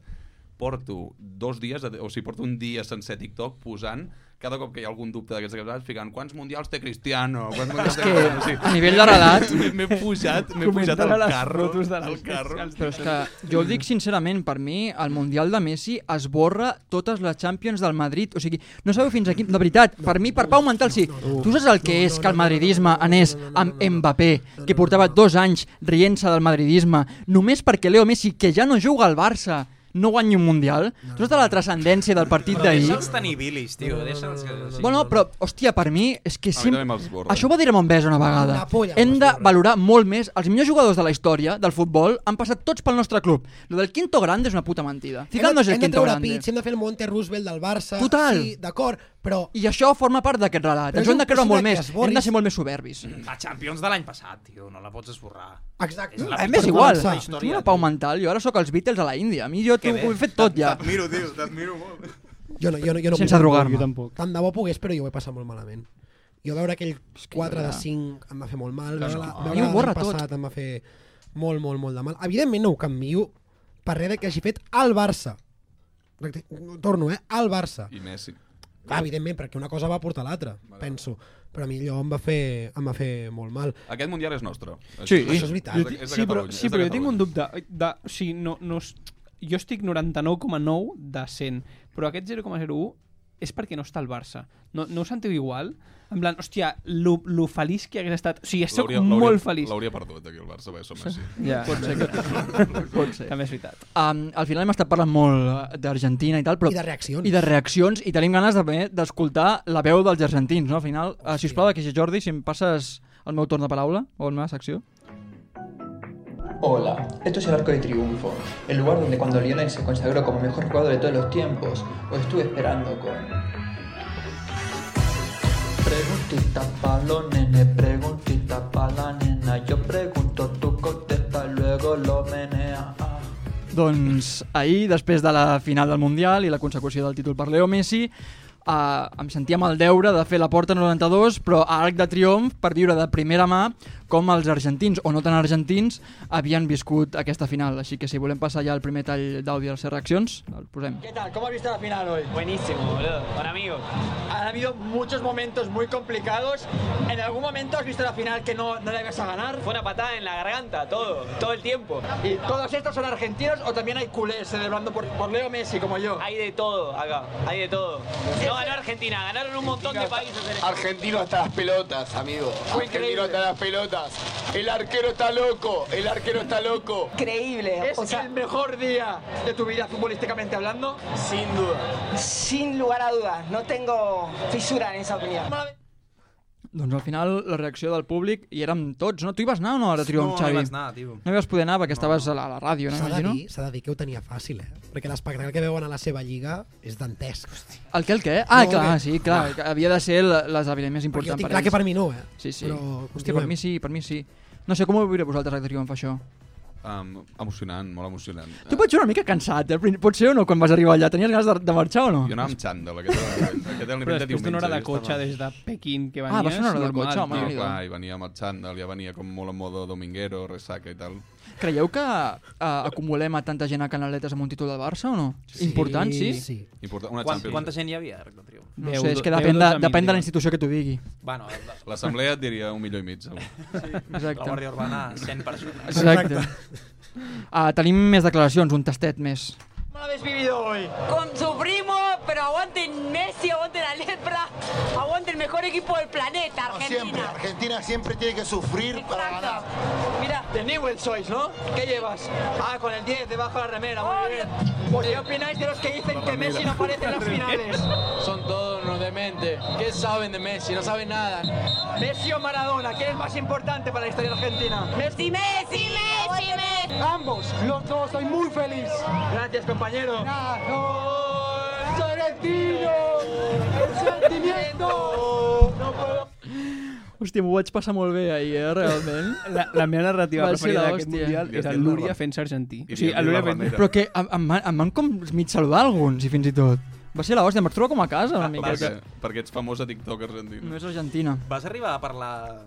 S1: Porto dos dies, o sigui, porto un dia sencer TikTok posant cada cop que hi ha algun dubte d'aquests acabats, ficant quants mundials té Cristiano? Quants mundials
S2: És
S1: té
S2: que,
S1: Cristiano?" O sigui,
S2: a nivell de l'edat-
S1: m'he- M'he pujat, m'he pujat
S6: Comentant
S1: al
S6: a les
S1: carro.
S6: fotos de les
S1: al carro.
S2: Però és que jo ho dic sincerament, per mi el Mundial de Messi esborra totes les Champions del Madrid. O sigui, no sabeu fins aquí... De veritat, per mi, per Pau Mental, sí. Tu saps el que és que el madridisme anés amb Mbappé, que portava dos anys rient-se del madridisme, només perquè Leo Messi, que ja no juga al Barça, no guanyi un Mundial. No. Tota la transcendència del partit
S4: Però
S2: d'ahir...
S4: deixa'ls tenir bilis, tio. Deixa'ls que...
S2: Bueno, però, hòstia, per mi, és que...
S4: A mi
S2: Sim...
S4: també m'esborra.
S2: Això ho va dir Ramon Besa una vegada. Hem de valorar molt més. Els millors jugadors de la història del futbol han passat tots pel nostre club. Lo del quinto grande és una puta mentida.
S3: hem,
S2: Ficant-nos
S3: de,
S2: el
S3: hem de
S2: quinto
S3: treure
S2: grande.
S3: pits, hem de fer el Monte Roosevelt del Barça.
S2: Total.
S3: Sí, d'acord, però...
S2: I això forma part d'aquest relat.
S3: Però és
S2: Ens ho hem de creure
S3: impossible
S2: molt
S3: que
S2: més.
S3: es borris.
S2: Hem de ser molt més soberbis.
S4: La Champions de l'any passat, tio, no la pots esborrar.
S3: Exacte.
S2: A mi és
S4: història-
S2: igual,
S4: la
S2: tinc
S4: història,
S2: una pau mental, jo ara sóc els Beatles a la Índia, a mi jo
S4: Que
S2: t'ho-
S4: bé.
S2: ho he fet tot ja.
S4: T'admiro, tio, t'admiro molt.
S3: Jo no, jo no, jo no
S2: Sense
S3: puc.
S2: drogar-me.
S3: Jo tampoc. Tant de bo pogués, però jo ho he passat molt malament. Jo veure aquell 4 de
S2: ja.
S3: 5 em va fer molt mal.
S2: Clar,
S3: Veure, la,
S2: no.
S3: veure
S2: I ho
S3: l'any
S2: borra tot.
S3: passat em va fer molt, molt, molt de mal. Evidentment no ho canvio per res que hagi fet al Barça. Torno, eh? Al Barça.
S1: I Messi.
S3: Clar, evidentment, perquè una cosa va portar l'altra, vale. penso. Però a mi allò em va fer, em va fer molt mal.
S1: Aquest mundial és nostre.
S3: Sí. Això és veritat.
S1: És
S6: Jo,
S1: de-
S6: ti-
S1: és de
S6: sí, però,
S1: Catalunya,
S6: sí,
S1: és de
S6: però jo
S1: Catalunya.
S6: tinc un dubte. De, o sigui, no, no, es- jo estic 99,9 de 100, però aquest 0,01 és perquè no està al Barça. No, no ho sentiu igual? En plan, hòstia, lo, lo feliç que hagués estat... O sigui, soc
S1: L'hauria- l'hauria-
S6: molt feliç.
S1: L'hauria perdut aquí el Barça, bé, som Messi.
S6: Ja, Pot ser que- pot ser. També és veritat.
S2: Um, al final hem estat parlant molt eh, d'Argentina i tal, però...
S3: I de reaccions.
S2: I de reaccions, i tenim ganes també d'escoltar la veu dels argentins, no? Al final, uh, sisplau, aquí Jordi, si em passes el meu torn de paraula, o la meva secció.
S15: Hola, esto es el Arco de Triunfo, el lugar donde cuando Lionel se consagró como mejor jugador de todos los tiempos, lo estuve esperando con... Preguntita pa' los nenes, preguntita pa' la nena, yo pregunto, tú contestas, luego lo menea.
S2: Doncs ahir, després de la final del Mundial i la consecució del títol per Leo Messi, eh, em sentia amb el deure de fer la porta 92, però a Arc de Triomf, per viure de primera mà com els argentins, o no tan argentins, havien viscut aquesta final. Així que si volem passar ja el primer tall d'àudio a les seves reaccions, el posem.
S16: ¿Qué tal? ¿Cómo has visto la final hoy? Buenísimo, boludo. Con amigos. Han habido muchos momentos muy complicados. ¿En algún momento has visto la final que no, no la ibas a ganar? Fue una patada en la garganta, todo, todo el tiempo. ¿Y todos estos son argentinos o también hay culés celebrando por, por Leo Messi como yo? Hay de todo acá, hay de todo.
S17: No ganó Argentina, ganaron un montón de países.
S18: Argentino hasta las pelotas, amigo.
S17: Fue
S18: Argentino hasta las pelotas. El arquero está loco, el arquero está loco.
S16: Increíble. ¿Es el mejor día de tu vida futbolísticamente hablando? Sin duda. Sin lugar a dudas. No tengo fisura en esa opinión.
S2: Doncs al final la reacció del públic hi érem tots, no? Tu hi vas anar o no, a Arc de Triomf,
S4: No, no
S2: Xavi?
S4: hi vaig anar, tio.
S2: No hi vas poder anar perquè estaves a la, a la ràdio, no?
S3: S'ha de,
S2: Imagino.
S3: dir, s'ha de dir que ho tenia fàcil, eh? Perquè l'espectacle que veuen a la seva lliga és dantesc. Hosti.
S2: El què, el què? Ah,
S3: No,
S2: no, clar,
S3: que-
S2: sí, clar, que havia de ser l- l'esdeveniment més important
S3: tinc
S2: per
S3: clar
S2: ells.
S3: que per mi no, eh?
S2: Sí, sí.
S3: Però
S2: Però, Hòstia,
S3: continuem.
S2: per mi sí, per mi sí. No sé, com ho viure vosaltres a Triomf, això?
S1: Um, emocionant, molt emocionant.
S2: Tu pots ser una mica cansat, eh? Prin- Potser o no, quan vas arribar allà? Tenies ganes de, de marxar o no?
S1: Jo anava amb xàndol, aquest era, aquest era el
S6: Però
S1: nivell de diumenge.
S6: després d'una hora de
S1: jo
S6: cotxe
S1: estava-
S6: des de Pequín que
S2: Ah,
S6: venies...
S2: va ser una hora de
S6: normal,
S2: cotxe, home,
S6: tio.
S1: No,
S2: Déu-n'hi-do.
S1: clar, i venia amb el xàndol, ja venia com molt en modo dominguero, ressaca i tal.
S2: Creieu que eh, acumulem a tanta gent a Canaletes amb un títol del Barça o no?
S1: Sí.
S2: Important, sí?
S1: Sí. Important, una
S4: Quant,
S1: Champions.
S4: quanta gent hi havia, Arc de Triomf?
S2: No sé, és que depèn, de, depèn de la institució que t'ho digui.
S4: Bueno,
S1: L'assemblea et diria un milió i mig, segur.
S2: Exacte.
S4: La Guàrdia Urbana, 100 persones.
S2: Exacte. Uh, tenim més declaracions, un tastet més.
S16: ¿Cómo lo habéis vivido hoy?
S19: Con su primo, pero aguanten Messi, aguanten a Lepra, aguanten el mejor equipo del planeta,
S8: Siempre,
S19: Argentina.
S8: Argentina siempre tiene que sufrir para ganar.
S16: Mira, de Newell sois, ¿no? ¿Qué llevas? Ah, con el 10 debajo de la remera, muy bien. ¿Por qué opináis de los que dicen que Messi no aparece en las finales?
S20: Son todos unos dementes. ¿Qué saben de Messi? No saben nada.
S16: Messi o Maradona, ¿quién es más importante para la historia argentina? Messi, Messi, Messi, Messi. Ambos, los dos, soy muy feliz. Gracias, compañero. Argentino, el sentimiento. No puedo.
S2: Hòstia, m'ho vaig passar molt bé ahir, eh, realment.
S6: La, la meva narrativa
S2: Va ser
S6: preferida
S2: la
S6: d'aquest
S2: hòstia.
S6: mundial era l'Úria fent-se argentí. O sigui,
S2: a
S6: l'Úria fent...
S2: Però que em, em, van- em van com mig saludar alguns, i fins i tot. Va ser la hòstia, em vaig trobar com a casa, una mica.
S1: Perquè, perquè ets famós a TikTok argentino.
S2: No és argentina.
S4: Vas arribar a parlar...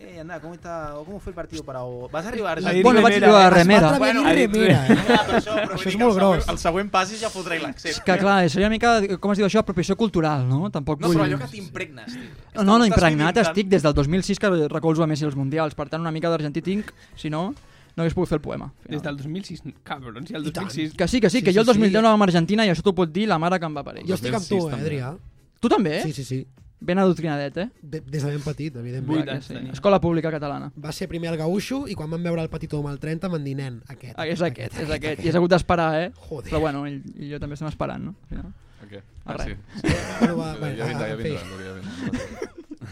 S4: Eh, anda, ¿cómo, está, ¿cómo fue el partido para vos? Vas arribar a
S2: Bueno, vaig arribar a remera. Es va atrever a dir remera, eh?
S4: Ja, però això, però
S2: Això
S4: vull
S2: és
S4: dir que
S2: molt
S4: el següent-
S2: gros.
S4: El següent pas és ja fotré l'accent.
S2: És que, clar, seria una mica, com es diu això, apropiació cultural, no? Tampoc
S4: No,
S2: vull...
S4: però allò que t'impregnes, tio.
S2: No, no,
S4: Estàs
S2: impregnat
S4: vivint tant.
S2: estic des del 2006 que recolzo a Messi als Mundials, per tant una mica d'argentí tinc, si no, no hagués pogut fer el poema.
S6: Des del 2006, cabrons, i el 2006...
S2: Que sí, que sí, que jo el 2010 no anava amb Argentina i això t'ho pot dir la mare que em va parir.
S6: Jo estic amb tu, eh, 2006 també. Adrià.
S2: Tu també?
S3: Sí, sí, sí.
S2: Ben adoctrinadet, eh?
S3: De, des de ben petit, evidentment.
S2: Vuit anys tenia. Escola pública catalana.
S3: Va ser primer el Gaucho i quan van veure el petit home al 30 van dir, nen, aquest.
S2: Ah, és aquest, és aquest. I has hagut d'esperar, eh?
S3: Joder.
S2: Però bueno, ell i jo també estem esperant, no? Al final.
S1: Ok.
S2: Ah,
S1: Ah,
S2: res.
S1: sí.
S2: Sí.
S3: Bueno, va, va,
S1: ja vindrà,
S3: en
S1: ja
S3: fi.
S1: vindrà, Núria, ja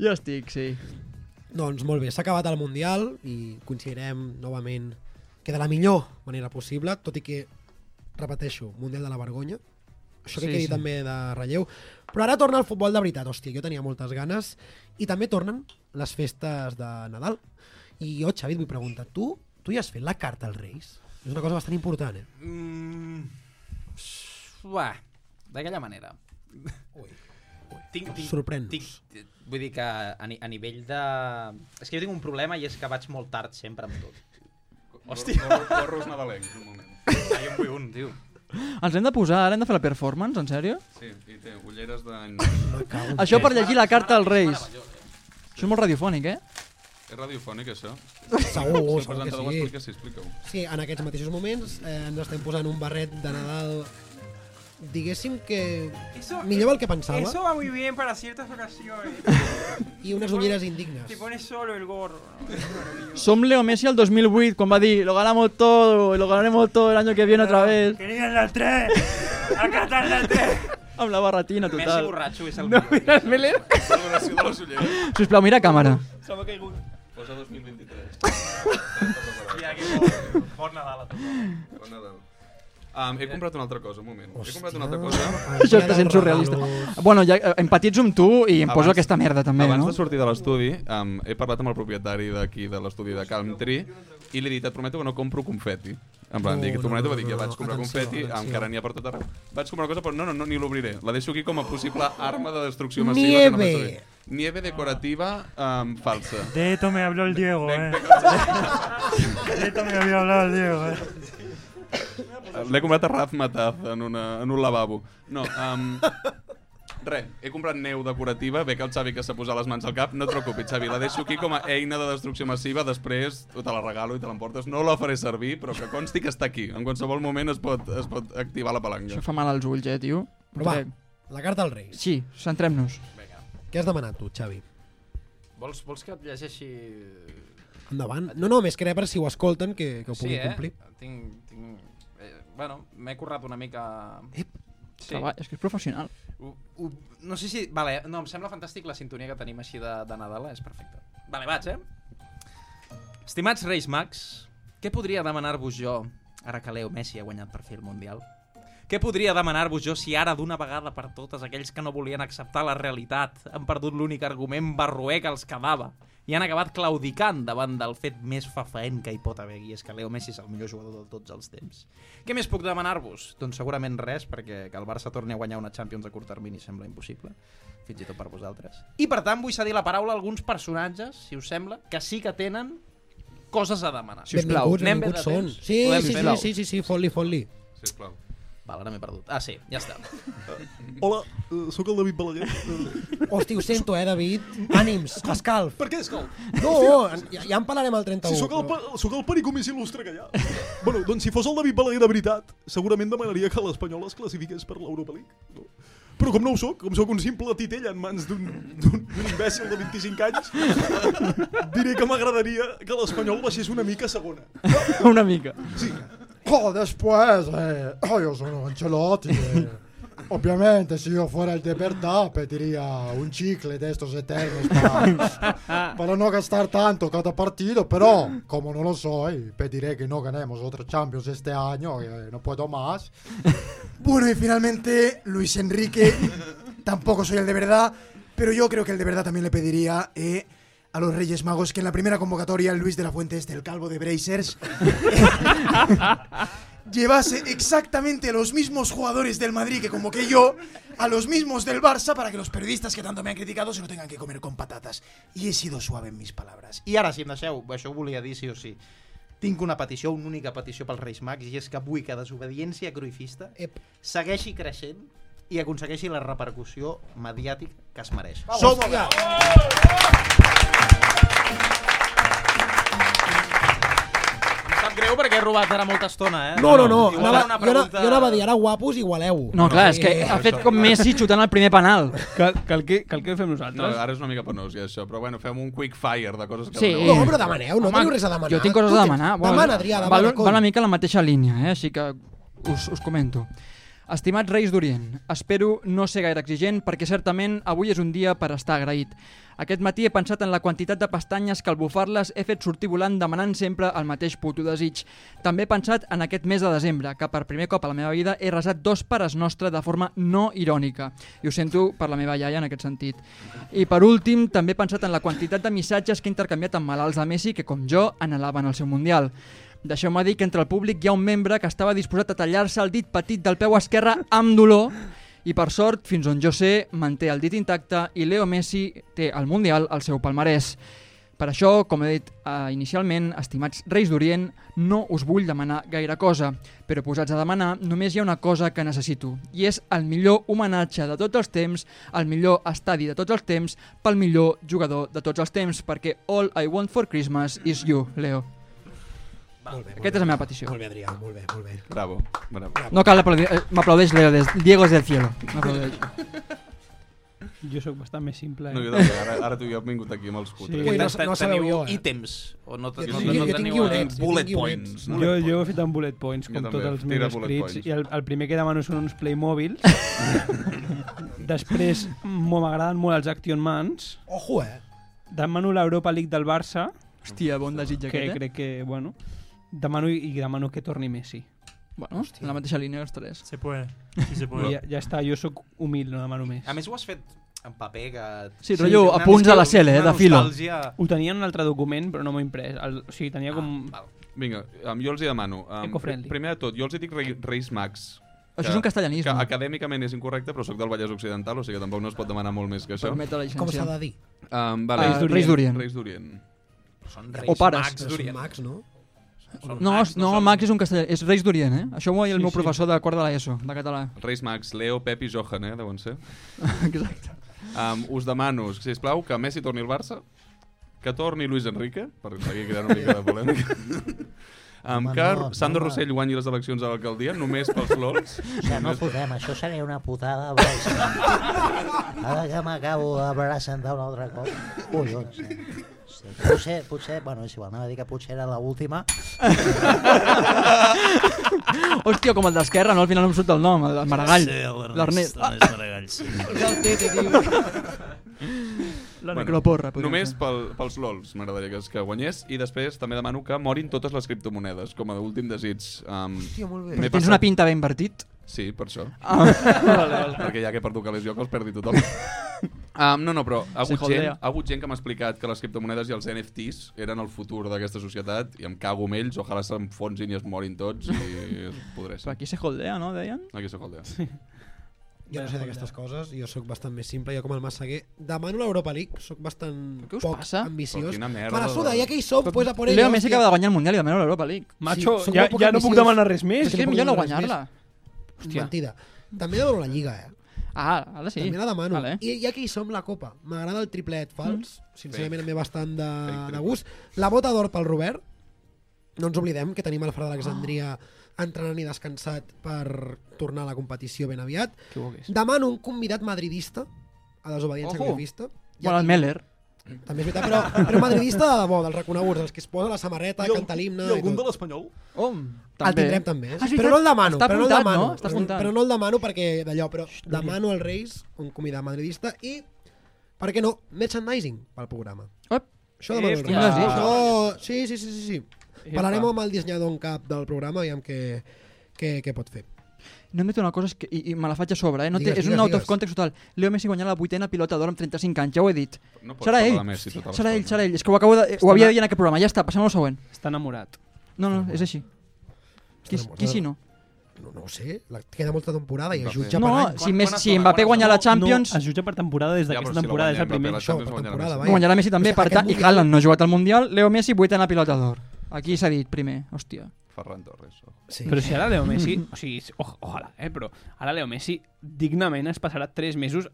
S2: Ja estic, sí.
S3: Doncs molt bé, s'ha acabat el Mundial i considerem novament que de la millor manera possible, tot i que, repeteixo, Mundial de la Vergonya, això que
S2: Sí,
S3: sí, quedi
S2: sí.
S3: sí. també de relleu, però ara torna el futbol de veritat, hòstia, jo tenia moltes ganes, i també tornen les festes de Nadal. I jo, Xavi, et vull preguntar, tu, tu ja has fet la carta als Reis? És una cosa bastant important, eh?
S4: Mm, Buah, d'aquella manera. Ui. Tinc, tinc,
S3: Sorprèn-nos.
S4: Tinc, vull dir que a, ni, a nivell de... És que jo tinc un problema i és que vaig molt tard sempre amb tot. Hòstia.
S1: Gorros- gorros nadalencs, un moment.
S4: Ah, jo en vull un, tio.
S2: Ens hem de posar, ara hem de fer la performance, en sèrio?
S1: Sí, i té ulleres d'any...
S2: Això per llegir la carta als Reis. Això és molt radiofònic, eh?
S1: eh. És radiofònic, això?
S3: Segur,
S1: Si el
S3: segur que
S1: presentador ho
S3: sí.
S1: explica, sí, explica-ho.
S3: Sí, en aquests mateixos moments eh, ens estem posant un barret de Nadal diguéssim que
S12: Eso-
S3: millor del que pensava.
S12: Eso va muy bien para ciertas ocasiones.
S3: Y unas ulleras indignas.
S12: Te pones solo el gorro.
S2: Som Leo Messi al 2008, quan va dir lo ganamos todo, lo ganaremos todo el año que viene otra vez.
S5: Querían la 3! Acá está la 3!
S2: Amb la barretina total.
S4: Messi borratxo és el
S2: No,
S4: millor.
S2: mira el Meller.
S4: Valoració de les ulleres.
S2: Sisplau, mira a càmera.
S4: Se m'ha caigut. Posa 2023.
S1: Mira,
S4: que bon, bon Nadal a tothom.
S1: Bon Nadal. Um, he comprat una altra cosa, un moment. Hòstia. He comprat una altra cosa.
S2: Això està sent surrealista. Bueno, ja eh, empatitzo amb tu i em poso aquesta merda també,
S1: abans
S2: no?
S1: de sortir de l'estudi, um, he parlat amb el propietari d'aquí de l'estudi de Calm Tree i li he dit, et prometo que no compro confeti. En plan,
S14: No,
S1: dic,
S14: no,
S1: t'ho prometo,
S14: no,
S1: va dir que
S14: no,
S1: vaig comprar
S14: atenció,
S1: confeti,
S14: atenció.
S1: encara n'hi ha per tot arreu. Vaig comprar una cosa, però no, no, no ni l'obriré. La deixo aquí com a possible arma de destrucció massiva. Que no
S5: Nieve.
S1: vaig obrir. Nieve decorativa um, falsa.
S5: De esto me habló el Diego, eh. De esto me había hablado el Diego, eh.
S1: L'he comprat a Raf Mataz en, una, en un lavabo. No, um, Re, he comprat neu decorativa, bé que el Xavi que s'ha posat les mans al cap, no et preocupis, Xavi, la deixo aquí com a eina de destrucció massiva, després te la regalo i te l'emportes. No la faré servir, però que consti que està aquí. En qualsevol moment es pot, es pot activar la palanca.
S2: Això fa mal als ulls, eh, tio.
S3: Però va, la carta als Reis.
S2: Sí, centrem-nos.
S3: Què has demanat tu, Xavi?
S4: Vols, vols que et llegeixi...
S3: Endavant. No, no, més que res per si ho escolten, que, que ho
S4: Sí,
S3: puguin
S4: eh?
S3: complir.
S4: Tinc... tinc... Eh, bueno, m'he currat una mica... Ep,
S2: Treball- és que és professional.
S4: Ho, ho, no sé si... Vale, no, em sembla fantàstic la sintonia que tenim així de, de Nadal, és perfecta. Vale, vaig, eh? Estimats Reis Mags, què podria demanar-vos jo ara que Leo Messi ha guanyat per fer el Mundial? Què podria demanar-vos jo si ara d'una vegada per totes aquells que no volien acceptar la realitat han perdut l'únic argument barroer que els quedava i han acabat claudicant davant del fet més fafaent que hi pot haver i és que Leo Messi és el millor jugador de tots els temps. Què més puc demanar-vos? Doncs segurament res, perquè que el Barça torni a guanyar una Champions a curt termini sembla impossible, fins i tot per vosaltres. I per tant vull cedir la paraula a alguns personatges, si us sembla, que sí que tenen coses a demanar.
S3: Sisplau,
S4: Anem bé
S3: benvinguts, benvinguts
S4: de
S3: són.
S4: temps?
S3: Sí,
S4: Podem
S3: sí,
S4: fer?
S3: sí, sí, sí, sí, fot-li, fot-li.
S1: Sisplau.
S4: Val, ara m'he perdut. Ah, sí, ja està.
S21: Hola, eh, sóc el David Balaguer.
S3: Hosti, ho sento, eh, David. Ànims, escalf.
S21: Per què és cal?
S3: No, en- ja, ja en parlarem al
S21: Si
S3: 31.
S21: sóc el, pa- sóc el perico més il·lustre que hi ha. bueno, doncs si fos el David Balaguer de veritat, segurament demanaria que l'Espanyol es classifiqués per l'Europa League. No? Però com no ho sóc, com sóc un simple titella en mans d'un d'un- d'un imbècil de 25 anys, diré que m'agradaria que l'Espanyol baixés una mica a segona.
S2: Una mica.
S22: Oh, después, eh, oh, yo sono Ancelotti. eh. Ovviamente, se io fuera il de Bertà, pediría un chicle de estos eternos para, para no gastar tanto cada partido. Pero, como no lo eh, soy, pediré que no ganemos otro Champions este año, eh, no puedo más.
S10: Bueno, y finalmente, Luis Enrique. Tampoco soy el de verdad, pero yo creo que el de verdad también le pediría eh, a los Reyes Magos que en la primera convocatoria Luis de la Fuente, este, el calvo de Brazers, eh, llevase exactamente los mismos jugadores del Madrid que convoqué yo, a los mismos del Barça, para que los periodistas que tanto me han criticado se lo tengan que comer con patatas. Y he sido suave en mis palabras.
S4: I ara, si em deixeu, això ho volia dir sí o sí. Tinc una petició, una única petició pels Reis Mags, i és que vull que desobediència cruifista Ep. segueixi creixent i aconsegueixi la repercussió mediàtica que es mereix.
S3: Vamos,
S4: Som
S3: hòstia.
S4: Em sap greu, Perdoneu perquè he robat ara molta estona, eh?
S3: No, no, no.
S4: Igual
S3: Anava,
S4: era una
S3: jo,
S4: pregunta...
S3: anava, jo anava a dir, ara guapos, igualeu.
S2: No, clar, és que ha fet com Messi xutant el primer penal.
S6: Que, que, el, que, que el que fem nosaltres...
S1: No, ara és una mica penós, ja, això, però bueno, fem un quick fire de coses que
S2: Sí.
S1: demaneu.
S2: No, però
S3: demaneu, no
S1: Home,
S3: teniu res a demanar.
S2: Jo tinc coses
S3: Tu
S2: a
S3: tens-
S2: demanar.
S3: Demana, Adrià, demana,
S2: Val,
S3: cony.
S2: va una mica en la mateixa línia, eh? així que us, us comento. Estimats Reis d'Orient, espero no ser gaire exigent perquè certament avui és un dia per estar agraït. Aquest matí he pensat en la quantitat de pestanyes que al bufar-les he fet sortir volant demanant sempre el mateix puto desig. També he pensat en aquest mes de desembre, que per primer cop a la meva vida he resat dos pares nostres de forma no irònica. I ho sento per la meva iaia en aquest sentit. I per últim, també he pensat en la quantitat de missatges que he intercanviat amb malalts de Messi que, com jo, anhelaven el seu Mundial. Deixeu-me dir que entre el públic hi ha un membre que estava disposat a tallar-se el dit petit del peu esquerre amb dolor i per sort, fins on jo sé, manté el dit intacte i Leo Messi té el Mundial al seu palmarès. Per això, com he dit eh, inicialment, estimats Reis d'Orient, no us vull demanar gaire cosa, però posats a demanar només hi ha una cosa que necessito, i és el millor homenatge de tots els temps, el millor estadi de tots els temps, pel millor jugador de tots els temps, perquè all I want for Christmas is you, Leo.
S3: Molt bé, molt
S2: Aquesta és la meva petició.
S3: Molt bé, Adrià, molt bé, molt bé.
S1: Bravo, bravo.
S2: No cal aplaudir, eh, m'aplaudeix Leo, des, Diego es del cielo. M'aplaudeix.
S6: Jo sóc bastant més simple. Eh?
S1: No, jo també, ara, ara tu i jo hem vingut aquí amb els putres.
S6: Sí.
S1: Sí.
S6: Ui, no-
S4: Te-
S6: no sabeu
S4: teniu
S6: jo, eh?
S4: ítems, o no, te-
S1: Jo
S4: no,
S1: tinc-
S4: no,
S1: jo
S4: no
S1: tinc
S4: teniu eh,
S1: guionets, jo
S4: bullet
S1: tinc guionets.
S4: points.
S1: Bullet
S6: Jo, jo he
S1: points.
S6: fet en bullet points, com
S1: Jo
S6: tots
S1: també,
S6: els
S1: tira
S6: meus
S1: bullet
S6: escrits,
S1: points.
S6: i el, el primer que demano són uns Playmobils. Després, mo- m'agraden molt els Action Mans.
S3: Ojo, eh?
S6: Demano l'Europa League del Barça.
S2: Hòstia, bon desitge
S6: que
S2: aquest, eh?
S6: crec que, bueno... Demano i, i demano que torni Messi.
S2: Bueno, en la mateixa línia els tres.
S5: Se puede.
S6: Sí, se
S5: puede.
S6: Ja, ja està, jo sóc humil, no demano més.
S4: A més, ho has fet en paper que...
S2: Sí, rotllo, a punts a la cel, eh, de filo.
S6: Ho tenia en un altre document, però no m'ho he imprès. El, o sigui,
S3: Ah,
S6: tenia com...
S1: Vinga, um, jo els hi demano. Um,
S6: Eco-friendly.
S1: primer de tot, jo els hi dic rei, Reis Mags.
S2: Això és un castellanisme.
S1: Que acadèmicament és incorrecte, però sóc del Vallès Occidental, o sigui que tampoc no es pot demanar molt més que això.
S2: Permet la llicència.
S3: Com s'ha de dir?
S1: Um, vale.
S2: Ah, Reis d'Orient.
S1: Reis d'Orient.
S4: Són
S2: O pares.
S3: Però són mags, no?
S2: No,
S1: Ah,
S2: Max, no, Max és un castellà, és Reis d'Orient, eh? Això m'ho va dir el
S1: Sí,
S2: meu
S1: sí.
S2: professor de quart de l'ESO, de català.
S1: Reis Mags, Leo, Pep i Johan, eh, deuen ser.
S2: Exacte.
S1: Um, us demano, si plau, que Messi torni al Barça, que torni Luis Enrique, per seguir creant una mica de polèmica. Um,
S13: Home,
S1: que
S13: no,
S1: Sandro
S13: no,
S1: Rossell guanyi les eleccions a l'alcaldia, només pels flols.
S13: O sigui, no podem, això seria una putada. Però... Ara que m'acabo de presentar un altre cop. Ui, ui, sí. Sí, Potser, potser, bueno, és igual, anava a dir que potser era l'última.
S2: Hòstia, com el d'esquerra, no? Al final no em surt el nom, el de Maragall.
S7: Sí, l'Ernest,
S2: L'Ernest. Ah!
S7: l'Ernest Maragall, sí. És el Tete, tio.
S2: La necroporra, podríem
S1: Només
S2: fer.
S1: pel, pels lols m'agradaria que, es- que guanyés i després també demano que morin totes les criptomonedes com a últim desig. Um,
S2: Hòstia, molt bé. Però tens una pinta ben invertit.
S1: Sí, per això.
S2: Ah. Vale, vale.
S1: Perquè ja que per tocar les jo que els perdi tothom. Um, no, no, però ha
S2: Se
S1: hagut, gent,
S2: holdea.
S1: ha hagut gent que m'ha explicat que les criptomonedes i els NFTs eren el futur d'aquesta societat i em cago amb ells, ojalà s'enfonsin i es morin tots i es podressin.
S2: Però aquí se holdea, no, deien?
S1: Aquí se holdea. Sí.
S3: Jo no sé d'aquestes coses, jo sóc bastant més simple, jo com el Massaguer. Demano l'Europa League, sóc bastant poc
S2: passa?
S3: ambiciós.
S1: Però quina merda.
S3: Me la suda, ja que hi som, pues a por
S2: Leo
S3: ello,
S2: Messi
S3: hòstia.
S2: acaba de guanyar el Mundial i demana l'Europa League.
S6: Macho,
S3: sóc
S6: ja-
S3: molt poc
S6: ja no puc
S3: ambiciós.
S6: demanar res més.
S2: És que és
S3: puc
S2: millor no
S3: demanar res
S2: guanyar-la.
S3: més. Mentida. També demano la Lliga, eh?
S2: Ah, ara sí.
S3: També la demano.
S2: Vale. Mm.
S3: I ja que hi som, la Copa. M'agrada el triplet fals. Sincerament,
S2: Fake.
S3: em ve bastant de,
S2: Fake
S3: de gust. La bota d'or pel Robert. No ens oblidem que tenim el Fred d'Alexandria
S2: Ah.
S3: entrenant i descansat per tornar a la competició ben aviat.
S6: Que bo que és.
S3: Demano un convidat madridista a desobediència
S2: Ojo.
S3: grafista.
S2: Bueno, el Meller.
S3: També és veritat, però, però madridista de debò, dels reconeguts, dels que es posa la samarreta,
S21: I el-
S3: canta l'himne...
S21: i algun
S3: tot.
S21: de l'Espanyol?
S2: Om,
S3: El tindrem també. eh?
S2: Ah, és
S3: però no el demano.
S2: Està
S3: però no el
S2: apuntat,
S3: demano,
S2: no? Està
S3: però,
S2: apuntat.
S3: però no el demano perquè d'allò, però demano als Reis un convidat madridista i, per què no, merchandising pel programa.
S2: Ep.
S3: Això demano als Reis.
S2: Epa. Quin desig.
S3: Això- sí, sí, sí, sí, sí.
S2: Epa.
S3: Parlarem amb el dissenyador en cap del programa, aviam què, què, què pot fer.
S2: No em meto una cosa és que, i, i me la faig a sobre, eh? No té,
S3: Digues,
S2: és un
S3: digues,
S2: out of
S3: digues.
S2: context total. Leo Messi guanyarà la vuitena pilota d'or amb 35 anys, ja ho he dit.
S1: No pots
S2: serà
S1: parlar
S2: ell,
S1: de Messi tota
S2: serà ell,
S1: l'estona.
S2: serà ell. És que ho, acabo de, ho
S6: Està
S2: havia
S6: ena-
S2: de dir en aquest programa, ja està, passem al següent.
S6: Està enamorat.
S2: No, no, és així. Qui, qui si no?
S3: No, no ho sé, la, queda molta temporada i es jutja
S2: No,
S3: per any.
S2: si, Messi, si Mbappé guanya la Champions...
S6: No, es jutja per temporada des d'aquesta temporada, és el primer.
S2: No, guanyarà Messi també, per tant, i Haaland no ha jugat al Mundial, Leo Messi vuitena pilota d'or. Aquí s'ha dit primer, hòstia.
S1: Ferran Torres.
S3: Sí.
S6: Però si ara Leo Messi, o sigui, o, ojalà, eh, però ara Leo Messi dignament es passarà 3 mesos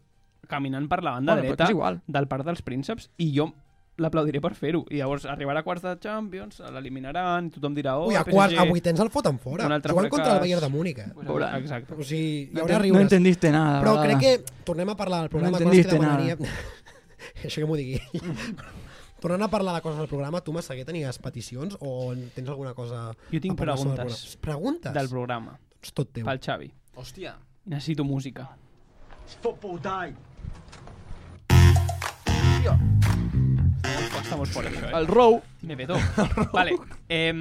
S6: caminant per la banda
S2: Bueno, però
S6: dreta
S2: és igual.
S6: del Parc dels Prínceps i jo l'aplaudiré per fer-ho. I llavors arribarà a quarts de Champions, l'eliminaran, tothom dirà... Oh,
S3: Ui, a,
S6: el
S3: quart,
S6: PSG,
S3: a vuitens el foten fora.
S6: un
S3: Jugant
S6: altre
S3: contra el
S6: fracàs.
S3: Bayern de Múnich. eh?
S6: Pues, Veurà. Exacte.
S3: O sigui, hi
S6: No
S3: haurà
S6: enten-
S3: riures.
S6: no entendiste nada,
S3: Però crec
S6: Balada.
S3: que, tornem a parlar del programa,
S6: No
S3: de coses que
S6: entendiste
S3: demanaria... Això que m'ho digui. Tornant a parlar de coses del programa, tu, Massaguer, tenies peticions o tens alguna cosa...
S6: Jo tinc
S3: a parlar sobre el
S6: preguntes.
S3: Preguntes?
S6: Del programa.
S3: Doncs tot teu.
S6: Pel Xavi.
S4: Hòstia.
S6: Necessito música.
S4: Football die.
S6: Està molt fort, això, eh?
S4: El Rou.
S6: Me vedo. Vale. Eh,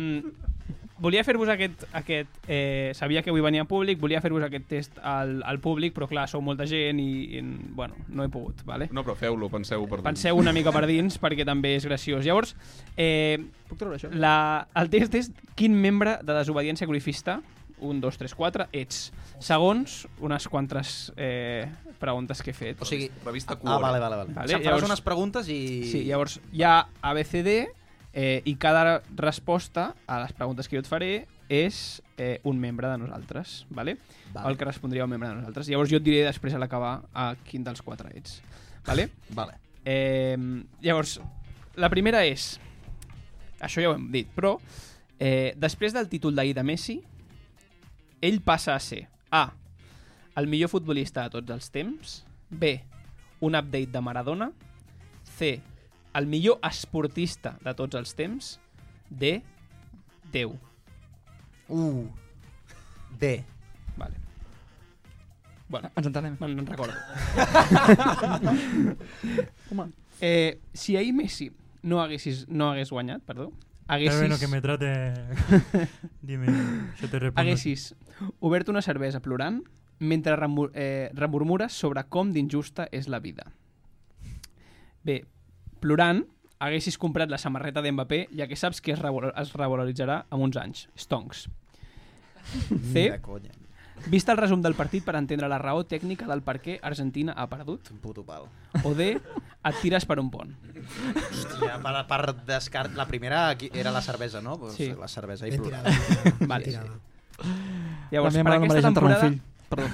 S6: volia fer-vos aquest... aquest eh, sabia que avui venia públic, volia fer-vos aquest test al, al públic, però clar, sou molta gent i, i bueno, no he pogut, vale?
S1: No, però feu-lo, penseu per dins.
S6: Penseu una mica per dins, perquè també és graciós. Llavors, eh, Puc treure això? La, el test és quin membre de desobediència glorifista 1, 2, 3, 4, ets. Segons unes quantes eh, preguntes que he fet. O
S4: sigui, revista Quora. Ah, vale, vale, vale. Se'n faràs unes preguntes i-
S6: Sí, llavors hi ha ABCD eh, i cada resposta a les preguntes que jo et faré és eh, un membre de nosaltres, vale?
S4: Vale.
S6: el que respondria un membre de nosaltres. Llavors jo et diré després a l'acabar a quin dels quatre ets. Vale?
S4: Vale.
S6: Eh, llavors, la primera és... Això ja ho hem dit, però... Eh, després del títol d'ahir de Messi, ell passa a ser A. El millor futbolista de tots els temps B. Un update de Maradona C. El millor esportista de tots els temps D. Déu
S4: U. D.
S6: Vale. Bueno,
S2: Ens entenem.
S6: Me'n me'n recordo. Home. Eh, si ahir Messi no, haguessis, no hagués guanyat, perdó, haguessis...
S5: Está bueno que me trate... Dime, yo te respondo.
S6: Haguessis obert una cervesa plorant mentre remor eh, remurmures sobre com d'injusta és la vida. Bé, plorant, haguessis comprat la samarreta d'Mbappé, ja que saps que es, revol es revaloritzarà amb uns anys. Stonks. C.
S4: De conya.
S6: Vist el resum del partit per entendre la raó tècnica del per què Argentina ha perdut.
S4: Un puto pal.
S6: O D. Et tires per un pont.
S4: Hòstia, per, per descart... La primera aquí era la cervesa, no? Pues
S6: Sí.
S4: La cervesa i
S6: Ben
S4: plural.
S6: tirada. Vale. Ben tirada. Llavors,
S2: La meva
S6: per
S2: mare no
S6: aquesta
S2: mereix
S6: temporada...
S2: enterrar un
S6: Perdó.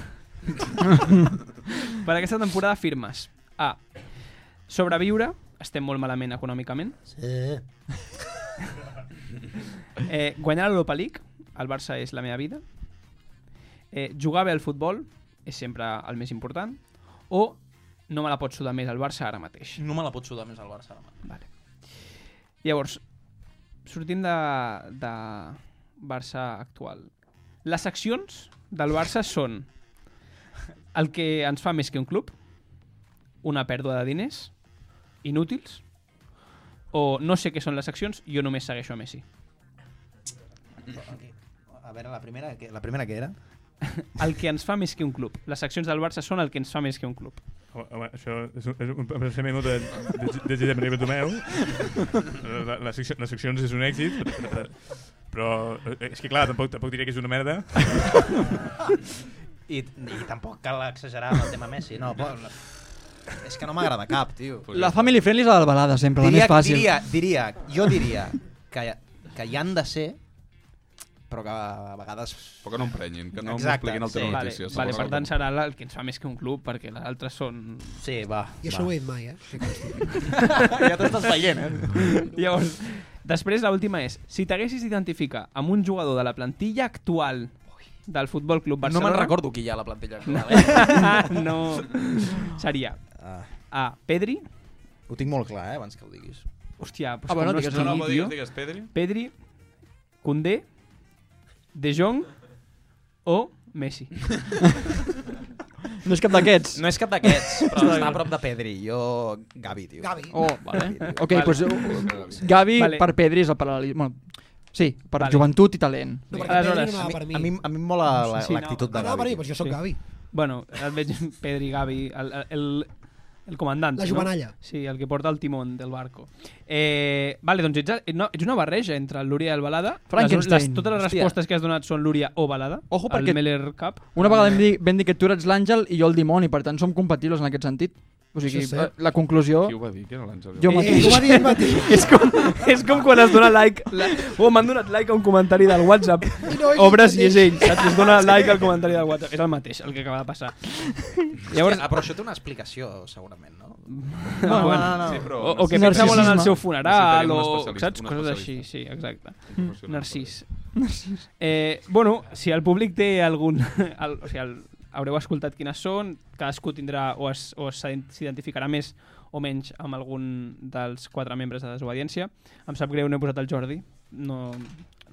S6: per aquesta temporada firmes A. Sobreviure, estem molt malament econòmicament.
S13: Sí.
S6: Eh, guanyar l'Europa League, el Barça és la meva vida. Eh, jugar bé al futbol és sempre el més important. O no me la pot sudar més el Barça ara mateix.
S4: No me la pot sudar més el Barça.
S6: Vale. Llavors, sortint de, de Barça actual, les seccions del Barça són el que ens fa més que un club, una pèrdua de diners, inútils, o no sé què són les seccions, jo només segueixo a Messi.
S4: A veure, la primera, que- la primera que era?
S6: El que ens fa més que un club. Les seccions del Barça són el que ens fa més que un club.
S9: Home, això és un, és un pensament de, de, de Josep Maria Bartomeu. La, la secció, les seccions és un èxit, però, però eh, és que clar, tampoc, tampoc diré que és una merda.
S4: Ah! I, I tampoc cal exagerar amb el tema Messi, no, però... És que no m'agrada cap, tio.
S2: La family friendly és la del Balada, sempre, la més fàcil.
S4: Diria, diria, jo diria que, que hi han de ser, però que a vegades...
S1: Però que no em prenyin, que no
S4: Exacte,
S1: m'expliquin el teu
S4: sí.
S1: notícies.
S6: vale, per tant serà la- el que ens fa més que un club, perquè les altres són...
S4: Sí, va.
S3: I això no ho he dit mai, eh? Que consti.
S6: ja t'ho estàs veient, eh? Llavors, després l'última és, si t'haguessis d'identificar amb un jugador de la plantilla actual del Futbol Club
S4: No
S6: Barcelona...
S4: me'n recordo qui hi ha a la plantilla actual, eh?
S6: no, no. Seria
S4: Ah.
S6: A. Pedri.
S4: Ho tinc molt clar, eh, abans que ho diguis.
S6: Hòstia, pues
S4: Ah, bueno,
S6: com no
S4: digues,
S6: estigui,
S4: no, no, digues,
S6: tio.
S4: digues, Pedri.
S6: Pedri, Koundé, De Jong o Messi.
S2: No és cap d'aquests.
S4: No és cap d'aquests, però està a prop de Pedri. Jo, Gavi, tio. Gavi.
S2: Oh, vale. Ok, vale. pues, uh, Gavi vale. per Pedri és el paral·lelisme. Bueno, sí, per vale. joventut i talent.
S4: No, perquè Pedri Aleshores, no anava per mi. a mi- a mi em mola la- l'actitud de Gavi, tio. Sí.
S6: Bueno, el veig Pedri, Gavi, el, el, el comandant.
S3: La jovenalla.
S6: No? Sí, el que porta el timón del barco. Eh, vale, doncs ets, no, ets una barreja entre l'Úria i el Balada. Les,
S2: Frankenstein.
S6: les, totes les
S2: Hòstia.
S6: respostes que has donat són l'Úria o Balada.
S2: Ojo,
S6: El
S2: perquè-
S6: Meller Cup.
S2: Una vegada vam dir, vam dir que tu eres l'àngel i jo el dimoni, per tant som compatibles en aquest sentit. O sigui,
S6: Això és cert.
S2: la conclusió...
S1: Qui ho va dir? Qui era l'Àngel?
S2: Jo
S6: Eh,
S2: mateix.
S6: ho va dir ell mateix. És com- és com quan es dona like- Oh, m'han donat like a un comentari del WhatsApp.
S2: no, ell
S6: Obres i
S2: mateix.
S6: és ell, saps? Es dona like al comentari del WhatsApp. És el mateix, el que acaba de passar. Llavors-
S4: Llavors... Hòstia, ah, però això té una explicació, segurament, no?
S6: No, no, no, no. O- o que pensa molt en el seu funeral, o- saps? Coses així, sí, exacte. Mm. Narcís.
S2: Narcís.
S6: Eh, bueno, si el públic té algun... El, o sigui, el, haureu escoltat quines són, cadascú tindrà o es- o s'ident- s'identificarà més o menys amb algun dels quatre membres de desobediència. Em sap greu, no he posat el Jordi. No...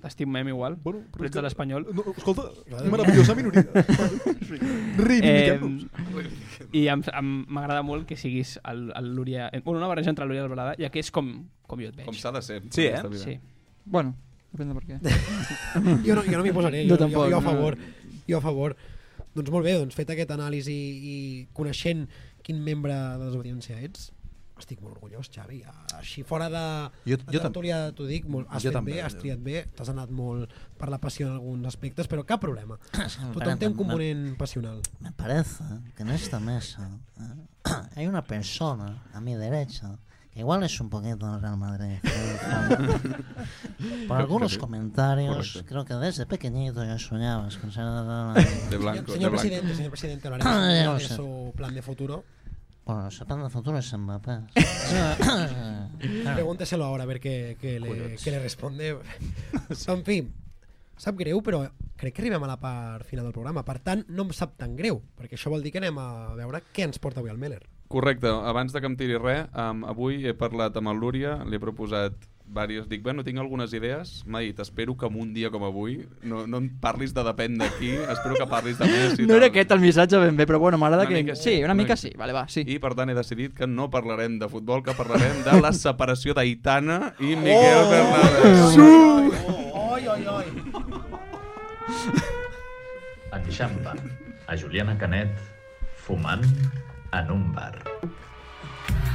S6: T'estimem igual, bueno, però ets de l'Espanyol.
S21: No, escolta, meravellosa minoria. Reivindiquem-nos.
S6: Eh, I em- em- m'agrada molt que siguis el- el l'Uria... Bueno, una barreja entre l'Uria i l'Albalada, ja que és com, com jo et veig.
S1: Com s'ha de ser, en
S6: Sí, eh?
S1: aquesta vida.
S6: Sí.
S2: Bueno, depèn de per què.
S3: jo no, jo no m'hi posaré,
S2: Jo
S3: jo,
S2: tampoc,
S3: jo, jo, a
S2: no.
S3: favor. Jo a favor. Doncs molt bé, doncs fet aquest anàlisi i coneixent quin membre de desobediència ets, estic molt orgullós, Xavi. Així fora de
S4: Jo-
S3: de
S4: jo tam-
S3: tertúlia t'ho dic, molt, has
S4: Jo
S3: fet
S4: també,
S3: bé, has
S4: jo.
S3: triat bé, t'has anat molt per la passió en alguns aspectes, però cap problema.
S13: Espera,
S3: Tothom té un
S13: me-
S3: component passional.
S13: Me parece que en esta mesa eh, hay una persona a mi derecha que igual es un poquito del Real Madrid. Por algunos
S3: Correcto.
S13: comentarios,
S3: Correcto.
S13: creo que desde pequeñito yo soñaba con ser del Real Madrid.
S1: De blanco,
S3: Señor presidente, señor presidente, hablaremos
S13: Ah,
S3: de
S13: no sé.
S3: su plan de futuro.
S13: Bueno, su plan de futuro es Mbappé. Ah,
S3: Pregúnteselo ahora a ver qué, qué le,
S13: Collons.
S3: qué le responde. En fi, sap greu, però crec que arribem a la part final del programa. Per tant, no em sap tan greu, perquè això vol dir que anem a veure què ens porta avui el Meller.
S1: Correcte, abans de que em tiri res, um, avui he parlat amb el Lúria, li he proposat diversos, dic, bueno, tinc algunes idees, m'ha dit, espero que en un dia com avui no, no em parlis de depèn d'aquí, espero que parlis de més. i
S2: No era
S1: tal.
S2: aquest el missatge ben bé, però bueno, m'agrada
S1: Una
S2: que...
S1: mica
S2: Sí, una mica sí. Vale, va, sí.
S1: I per tant he decidit que no parlarem de futbol, que parlarem de la separació d'Aitana i Miguel oh! Fernández.
S3: Oi, oi, oi.
S11: Enxampa a Juliana Canet fumant en un bar.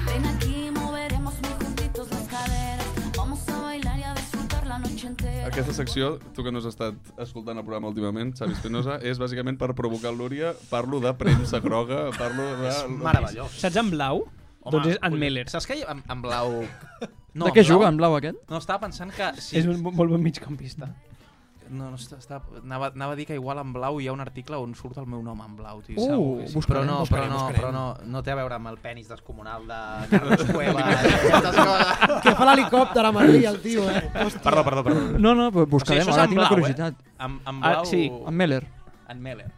S15: Ven aquí, moveremos muy juntitos las caderas. Vamos a bailar y a disfrutar la noche entera.
S1: Aquesta secció, tu que no has estat escoltant el programa últimament, Xavi Espinosa, és bàsicament per provocar el Lúria, parlo de premsa groga, parlo de...
S4: És meravellós.
S6: Saps en blau? Doncs és en Meller.
S4: Saps que hi- en, en blau...
S6: De què juga en blau aquest?
S4: No, estava pensant que...
S6: Sí. És un bo- molt bon migcampista.
S4: No, no, està, està, anava, anava a dir que igual en blau hi ha un article on surt el meu nom en blau, tio,
S2: Uh,
S4: segur que sí.
S2: buscarem,
S4: però no,
S2: buscarem,
S4: però no,
S2: buscarem.
S4: però no, no té a veure amb el penis descomunal de Carlos Cuevas. i aquestes coses.
S3: Que fa l'helicòpter a Madrid, el tio, eh? Hòstia.
S4: Perdó, perdó, perdó.
S2: No, no, però buscarem,
S4: això és
S2: ara
S4: en
S2: tinc la
S4: blau,
S2: curiositat.
S4: Eh? En, en
S2: Ah,
S4: blau...
S2: sí, en Meller.
S4: En Meller.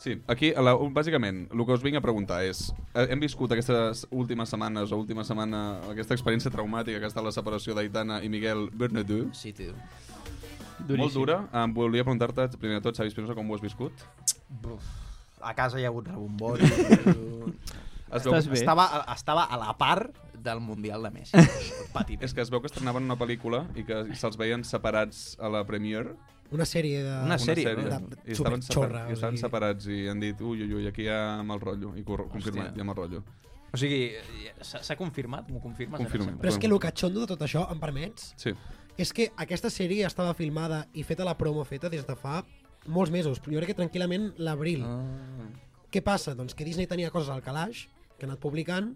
S1: Sí, aquí, a la, bàsicament, el que us vinc a preguntar és... eh, Hem viscut aquestes últimes setmanes o última setmana aquesta experiència traumàtica que ha estat la separació d'Aitana i Miguel Bernadou.
S4: Sí, tio.
S1: Molt dura. Em volia preguntar-te, primer de tot, Xavi Espinosa, com ho has viscut?
S4: Buf. A casa hi ha hagut rebombori.
S1: Es veu- Estàs bé?
S4: Estava, estava a la part del Mundial de Messi. Petit.
S1: És que es veu que estrenaven una pel·lícula i que se'ls veien separats a la premiere.
S3: Una sèrie de...
S1: Una sèrie. Una sèrie. I estaven,
S3: superxorra,
S1: separ
S3: o
S1: i estaven
S3: sigui.
S1: separats i han dit ui, ui, ui, aquí hi ha mal rotllo. I cor- confirmat, hi ha mal rotllo.
S4: O sigui, eh, s'ha s'ha confirmat? M'ho confirmes?
S1: Confirmem.
S3: Però és que el catxondo de tot això, em permets?
S1: Sí.
S3: És que aquesta sèrie estava filmada i feta la promo feta des de fa molts mesos. Jo crec que tranquil·lament l'abril.
S1: Ah.
S3: Què passa? Doncs que Disney tenia coses al calaix, que ha anat publicant,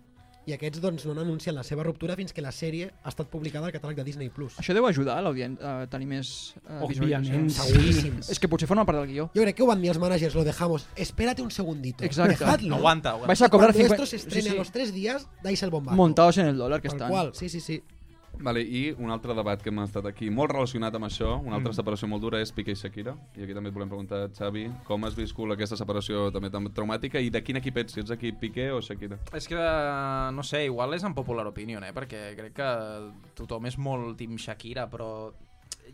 S3: i aquests doncs, no han anunciat la seva ruptura fins que la sèrie ha estat publicada al catàleg de Disney+. Plus.
S2: Això deu ajudar a l'audiència a tenir més eh,
S3: Òbviament,
S2: visualitzacions.
S3: seguríssim.
S2: És que potser forma part del guió.
S3: Jo crec que ho van dir els managers, lo dejamos, espérate un segundito,
S2: Exacte.
S3: dejadlo.
S2: Aguanta, aguanta. Vais a cobrar
S3: Cuando
S2: 50
S3: esto se estrene
S2: Sí, sí.
S3: a los tres días, dais el bombazo.
S2: Montados en el dólar que
S3: Tal
S2: estan.
S3: qual, sí, sí, sí.
S1: Vale, I un altre debat que hem estat aquí, molt relacionat amb això, una altra
S3: Mm.
S1: separació molt dura és Piqué i Shakira. I aquí també et volem preguntar, Xavi, com has viscut aquesta separació també tan traumàtica i de quin equip ets? Si ets equip Piqué o Shakira?
S4: És que, no sé, igual és en popular opinion, eh? Perquè crec que tothom és molt Team Shakira, però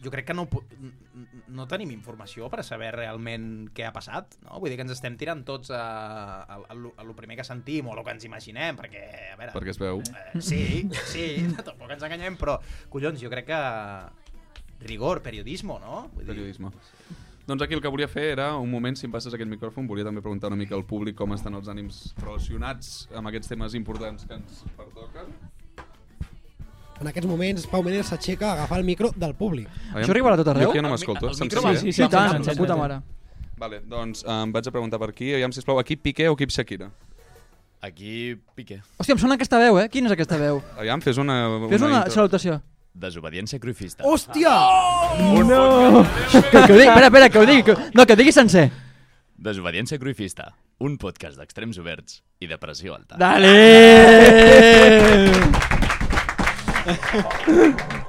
S4: jo crec que no, pu- n- n- no tenim informació per saber realment què ha passat, no? Vull dir que ens estem tirant tots a, a, a, lo- a lo primer que sentim o a lo que ens imaginem, perquè, a veure...
S1: Perquè es veu.
S4: Eh, sí, sí, tampoc ens enganyem, però, collons, jo crec que rigor, periodismo, no? Vull dir,
S1: periodisme. Doncs aquí el que volia fer era, un moment, si em passes aquell micròfon, volia també preguntar una mica al públic com estan els ànims relacionats amb aquests temes importants que ens pertoquen.
S3: En aquests moments, Pau Mener s'aixeca a agafar el micro del públic.
S1: Aviam, Jo aquí ja no m'escolto. eh? se'm sent bé? Vale, doncs em vaig a preguntar per aquí. Aviam, sisplau, equip Piqué o equip Shakira?
S7: Aquí pique.
S2: Hòstia, em sona aquesta veu, eh? Quina és aquesta veu?
S1: Aviam, fes una...
S2: Fes una
S1: intro.
S2: salutació.
S7: Desobediència cruifista.
S2: Hòstia! Oh, no! Que, que ho digui, espera, espera, que ho digui. Que... No, que ho digui sencer.
S7: Desobediència cruifista. Un podcast d'extrems oberts i de pressió alta.
S2: Dale!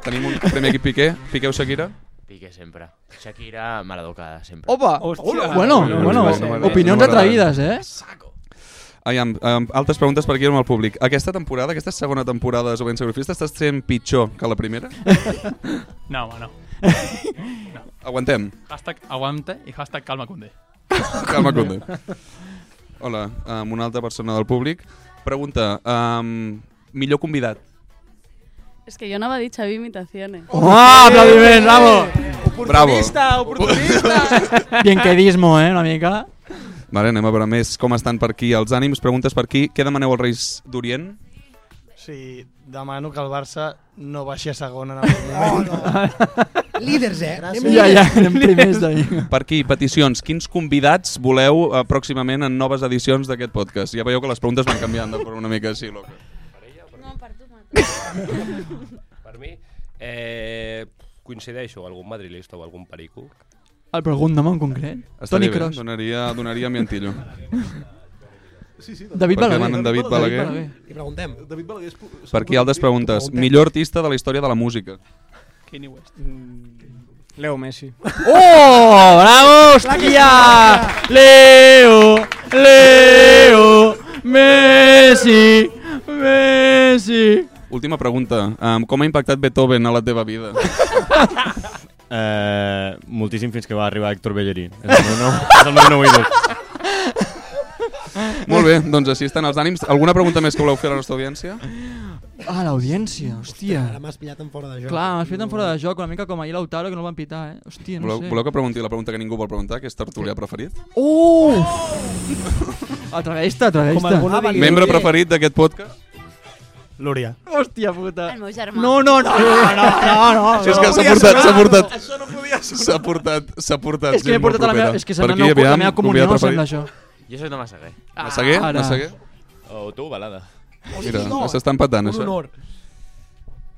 S1: Tenim un primer equip Piqué. Piqueu Shakira?
S17: Piqué sempre. Shakira, maladocada, sempre.
S2: Opa! Ah, Bueno, bueno, opinions atrevides, eh?
S1: Aviam, um, altres preguntes per aquí amb el públic. Aquesta temporada, aquesta segona temporada de Sobent Sacrifista, estàs sent pitjor que la primera?
S18: No, home, no. no.
S1: Aguantem.
S18: Hashtag aguanta i hashtag calma Condé.
S1: Calma, Conde. Hola, um, una altra persona del públic. Pregunta, um, millor convidat.
S23: Es que yo no había dicho imitaciones.
S2: ¡Ah, aplaudiment, bravo!
S1: Oportunista,
S2: oportunista! Bien quedismo, eh, una mica.
S1: Vale, anem a veure més com estan per aquí els ànims. Preguntes per aquí. Què demaneu als Reis d'Orient?
S24: Sí, demano que el Barça no baixi a segona en aquest moment.
S3: Líders, eh?
S24: Gràcies. Ja, ja, anem primers de
S1: Per aquí, peticions. Quins convidats voleu eh, pròximament en noves edicions d'aquest podcast? Ja veieu que les preguntes van canviant de forma una mica així, loca.
S25: Per mi, eh, coincideixo, algun madrilista o algun perico.
S2: El pregunta'm en concret.
S1: Estaria
S2: Toni
S1: bé, eh?
S2: Kroos.
S1: Donaria, donaria Miantillo.
S21: Sí, sí,
S2: David
S1: Per què
S2: Balaguer.
S1: demanen David Balaguer?
S3: Li preguntem.
S21: David Balaguer és...
S1: Per aquí altres preguntes. Millor artista de la història de la música.
S6: Kanye West.
S18: Leo Messi.
S2: ¡Oh! ¡Bravo! ¡Hostia! ¡Leo! ¡Leo! ¡Messi! ¡Messi!
S1: Última pregunta. Um, com ha impactat Beethoven a la teva vida?
S14: Eh, moltíssim fins que va arribar Héctor Bellerín. És el meu nou, és el meu nou ídol.
S1: Molt bé, doncs així estan els ànims. Alguna pregunta més que voleu fer a la nostra audiència?
S2: Ah, l'audiència, hòstia.
S3: Ara m'has pillat en fora de joc.
S2: Clar, m'has fet en fora de joc, una mica com ahir l'Autaro, que no el van pitar, eh? Hòstia, no
S1: Voleu,
S2: sé.
S1: voleu que pregunti la pregunta que ningú vol preguntar, que és tertulià preferit?
S2: Uh! Atreveix-te, atreveix-te.
S1: Membre preferit d'aquest podcast?
S24: Lúria.
S2: Hòstia puta.
S23: El meu germà.
S2: No, no, no, no, no, no, no.
S1: Si és
S2: no.
S1: que s'ha portat, s'ha portat. S'ha portat, s'ha portat.
S2: És que he
S1: gent molt
S2: portat a la
S1: propera.
S2: meva- és que se
S1: Per
S2: m'ha
S1: aquí,
S2: anat la
S1: aviam,
S2: meva comunió,
S1: convidat preferit.
S2: em sembla això.
S17: Jo soc de Massaguer.
S1: Massaguer?
S17: Ara.
S1: Massaguer?
S7: O tu, balada.
S1: Mira, s'està empatant, això.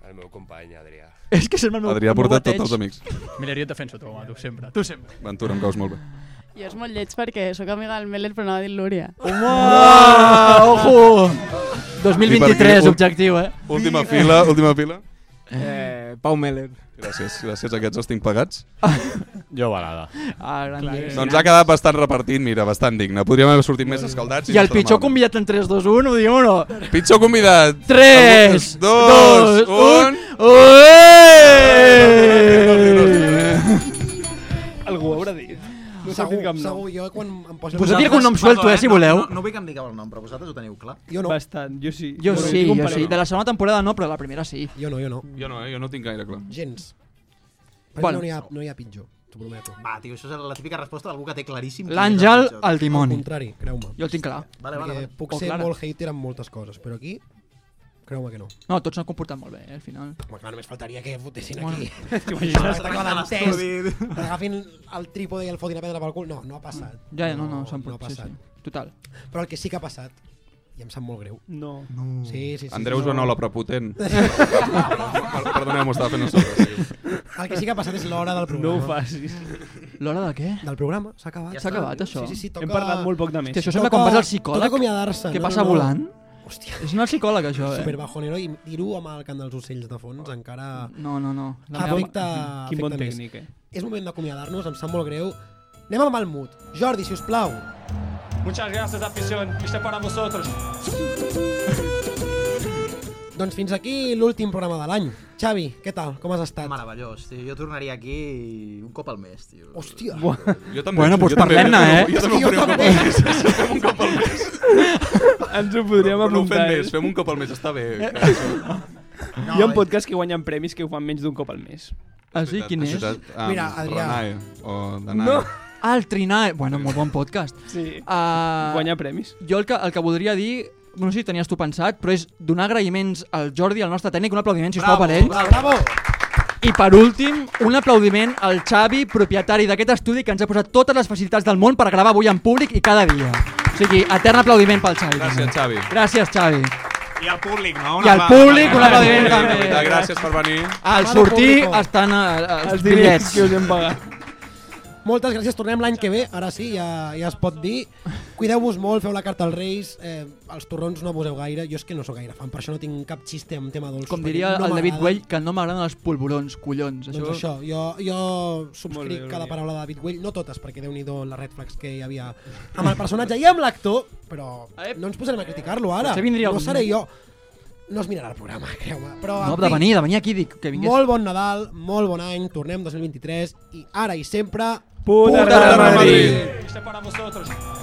S7: El meu company, Adrià.
S2: És que sembla el meu-
S1: Adrià ha
S2: el meu
S1: portat
S2: bateig.
S1: tots els amics.
S18: Mileria et defenso, tu, home, tu sempre. Tu sempre.
S1: Ventura, em caus molt bé.
S23: Jo és molt lleig perquè sóc amiga del Meller, però anava a dir Lúria.
S2: Ah, ojo!
S1: I per
S2: 2023,
S1: aquí,
S2: objectiu, eh?
S1: Última fila, última fila.
S18: Eh, Pau Meller.
S1: Gràcies, gràcies. Aquests els tinc pagats.
S14: Jo balada.
S2: Ah, grande.
S1: Doncs ha quedat bastant repartit, mira, bastant digne. Podríem haver sortit més escaldats.
S2: I el pitjor convidat en 3, 2, 1, ho diem o no?
S1: Pitjor convidat.
S2: 3, 2,
S1: dos,
S2: 1...
S1: Eh.
S6: Algú ho haurà dit.
S3: No
S6: s'ha
S3: segur,
S6: dit cap nom.
S3: segur, jo quan em poso...
S6: Vosaltres- Poseu-hi algun nom suelto, eh, si voleu.
S4: No, no vull que em digueu el nom, però vosaltres ho teniu clar.
S3: Jo no.
S6: Bastant, jo sí.
S2: Jo
S6: Però
S2: sí,
S6: tinc un
S2: jo
S6: parell,
S2: sí.
S6: no?
S2: De la segona temporada no, però de la primera sí.
S3: Jo no, jo no.
S1: Jo no, eh? Jo no ho tinc gaire clar.
S3: Gens. Per
S2: Bueno.
S3: bueno. no, hi ha, no hi ha pitjor, t'ho prometo.
S4: Va, tio, això és la típica resposta d'algú que té claríssim.
S2: L'Àngel,
S4: quin és
S2: el dimoni.
S3: Al contrari, creu-me.
S2: Jo el tinc clar.
S4: Vale, vale,
S3: Perquè
S4: vale.
S3: Eh, puc
S2: O
S3: ser
S2: clara.
S3: molt hater en moltes coses, però aquí, creu-me que no.
S2: No, tots s'han comportat molt bé, eh, al final.
S3: Home, clar, només faltaria que fotessin
S2: Bueno.
S3: aquí.
S2: T'imagines?
S3: Està clar d'entès. Agafin el trípode i el fotin a pedra pel cul. No, no ha passat.
S2: Ja, ja, no, no, s'han
S3: no ha
S2: portat. Sí,
S3: passat.
S2: sí. Total.
S3: Però el que sí que ha passat, i em sap molt greu.
S6: No.
S3: no. Sí, sí, sí.
S1: Andreu
S3: no.
S1: Joanola, prepotent. Per- Perdoneu, m'ho estava fent a sobre. sí.
S3: El que sí que ha passat és l'hora del programa.
S6: No ho facis.
S2: L'hora de què?
S3: Del programa, s'ha acabat.
S6: Ja
S2: S'ha
S6: està,
S2: acabat,
S6: tio.
S2: això?
S6: Sí, sí, sí, Hem toca- parlat molt poc de Messi.
S2: Hòstia, això sembla
S3: Toca-
S2: quan vas al psicòleg.
S3: toca acomiadar-se,
S2: Que
S3: no,
S2: passa
S3: no, no.
S2: volant? Hòstia. És anar al psicòleg, això, eh?
S3: Super bajonero i dir-ho amb el cant dels ocells de fons encara
S2: No, no, no. La meva-
S3: afecta,
S6: Quin bon
S3: afecta més.
S6: tècnic, eh?
S3: És moment d'acomiadar-nos, em sap molt greu. Anem amb el mood. Jordi, si us plau.
S18: Muchas gracias, afición. Este para vosotros.
S3: Doncs fins aquí l'últim programa de l'any. Xavi, què tal? Com has estat?
S4: Meravellós, tio. Jo tornaria aquí un cop al mes, tio.
S3: Hòstia.
S1: Jo
S2: també- Bueno, doncs jo també- parlem-ne, eh? jo també ho faria un cop al mes.
S1: Fem un cop al mes.
S6: Ens ho podríem
S1: Però no ho fem
S6: apuntar, eh?
S1: més, fem un cop al mes, està bé.
S6: No, Hi ha podcasts que guanyen premis que ho fan menys d'un cop al mes.
S2: Ah, sí? Quin és?
S1: Um,
S3: Mira, Adrià.
S1: Renai, o Danai.
S2: No. Ah, el Trinae. Bueno, molt bon podcast.
S6: Sí.
S2: Uh,
S6: Guanyar premis.
S2: Jo el que, el que voldria dir, no sé si tenies tu pensat, però és donar agraïments al Jordi, al nostre tècnic, un aplaudiment, sisplau, per ell.
S3: Bravo!
S2: I per últim, un aplaudiment al Xavi, propietari d'aquest estudi, que ens ha posat totes les facilitats del món per gravar avui en públic i cada dia. O sigui, etern aplaudiment pel Xavi.
S1: Gràcies, Xavi.
S2: Gràcies, Xavi.
S8: I al públic, no?
S2: I al públic, un aplaudiment també.
S1: De gràcies per venir.
S2: Al sortir estan eh, els bitllets.
S3: Moltes gràcies, tornem l'any que ve, ara sí, ja, ja es pot dir. Cuideu-vos molt, feu la carta als Reis, eh, els torrons no abuseu gaire, jo és que no sóc gaire fan, per això no tinc cap xiste amb tema dolç.
S2: Com diria
S3: perquè no
S2: el David
S3: m'agrada.
S2: Güell, que no m'agraden els polvorons, collons.
S3: Doncs això, jo, jo subscric
S2: Molt bé,
S3: cada
S2: Oriol.
S3: paraula de David Güell, no totes, perquè déu nhi les red flags que hi havia amb el personatge i amb l'actor, però no ens posarem a criticar-lo ara.
S2: Potser vindria
S3: No
S2: algun-
S3: seré jo. No es mirarà el programa, creu-me. Però,
S2: No,
S3: en
S2: de
S3: fi,
S2: venir, de venir aquí, dic, que vingués.
S3: Molt bon Nadal, molt bon any, tornem 2023 i ara i sempre...
S2: Puta
S3: Puta
S2: de Madrid.
S3: Madrid.
S18: Este para vosotros.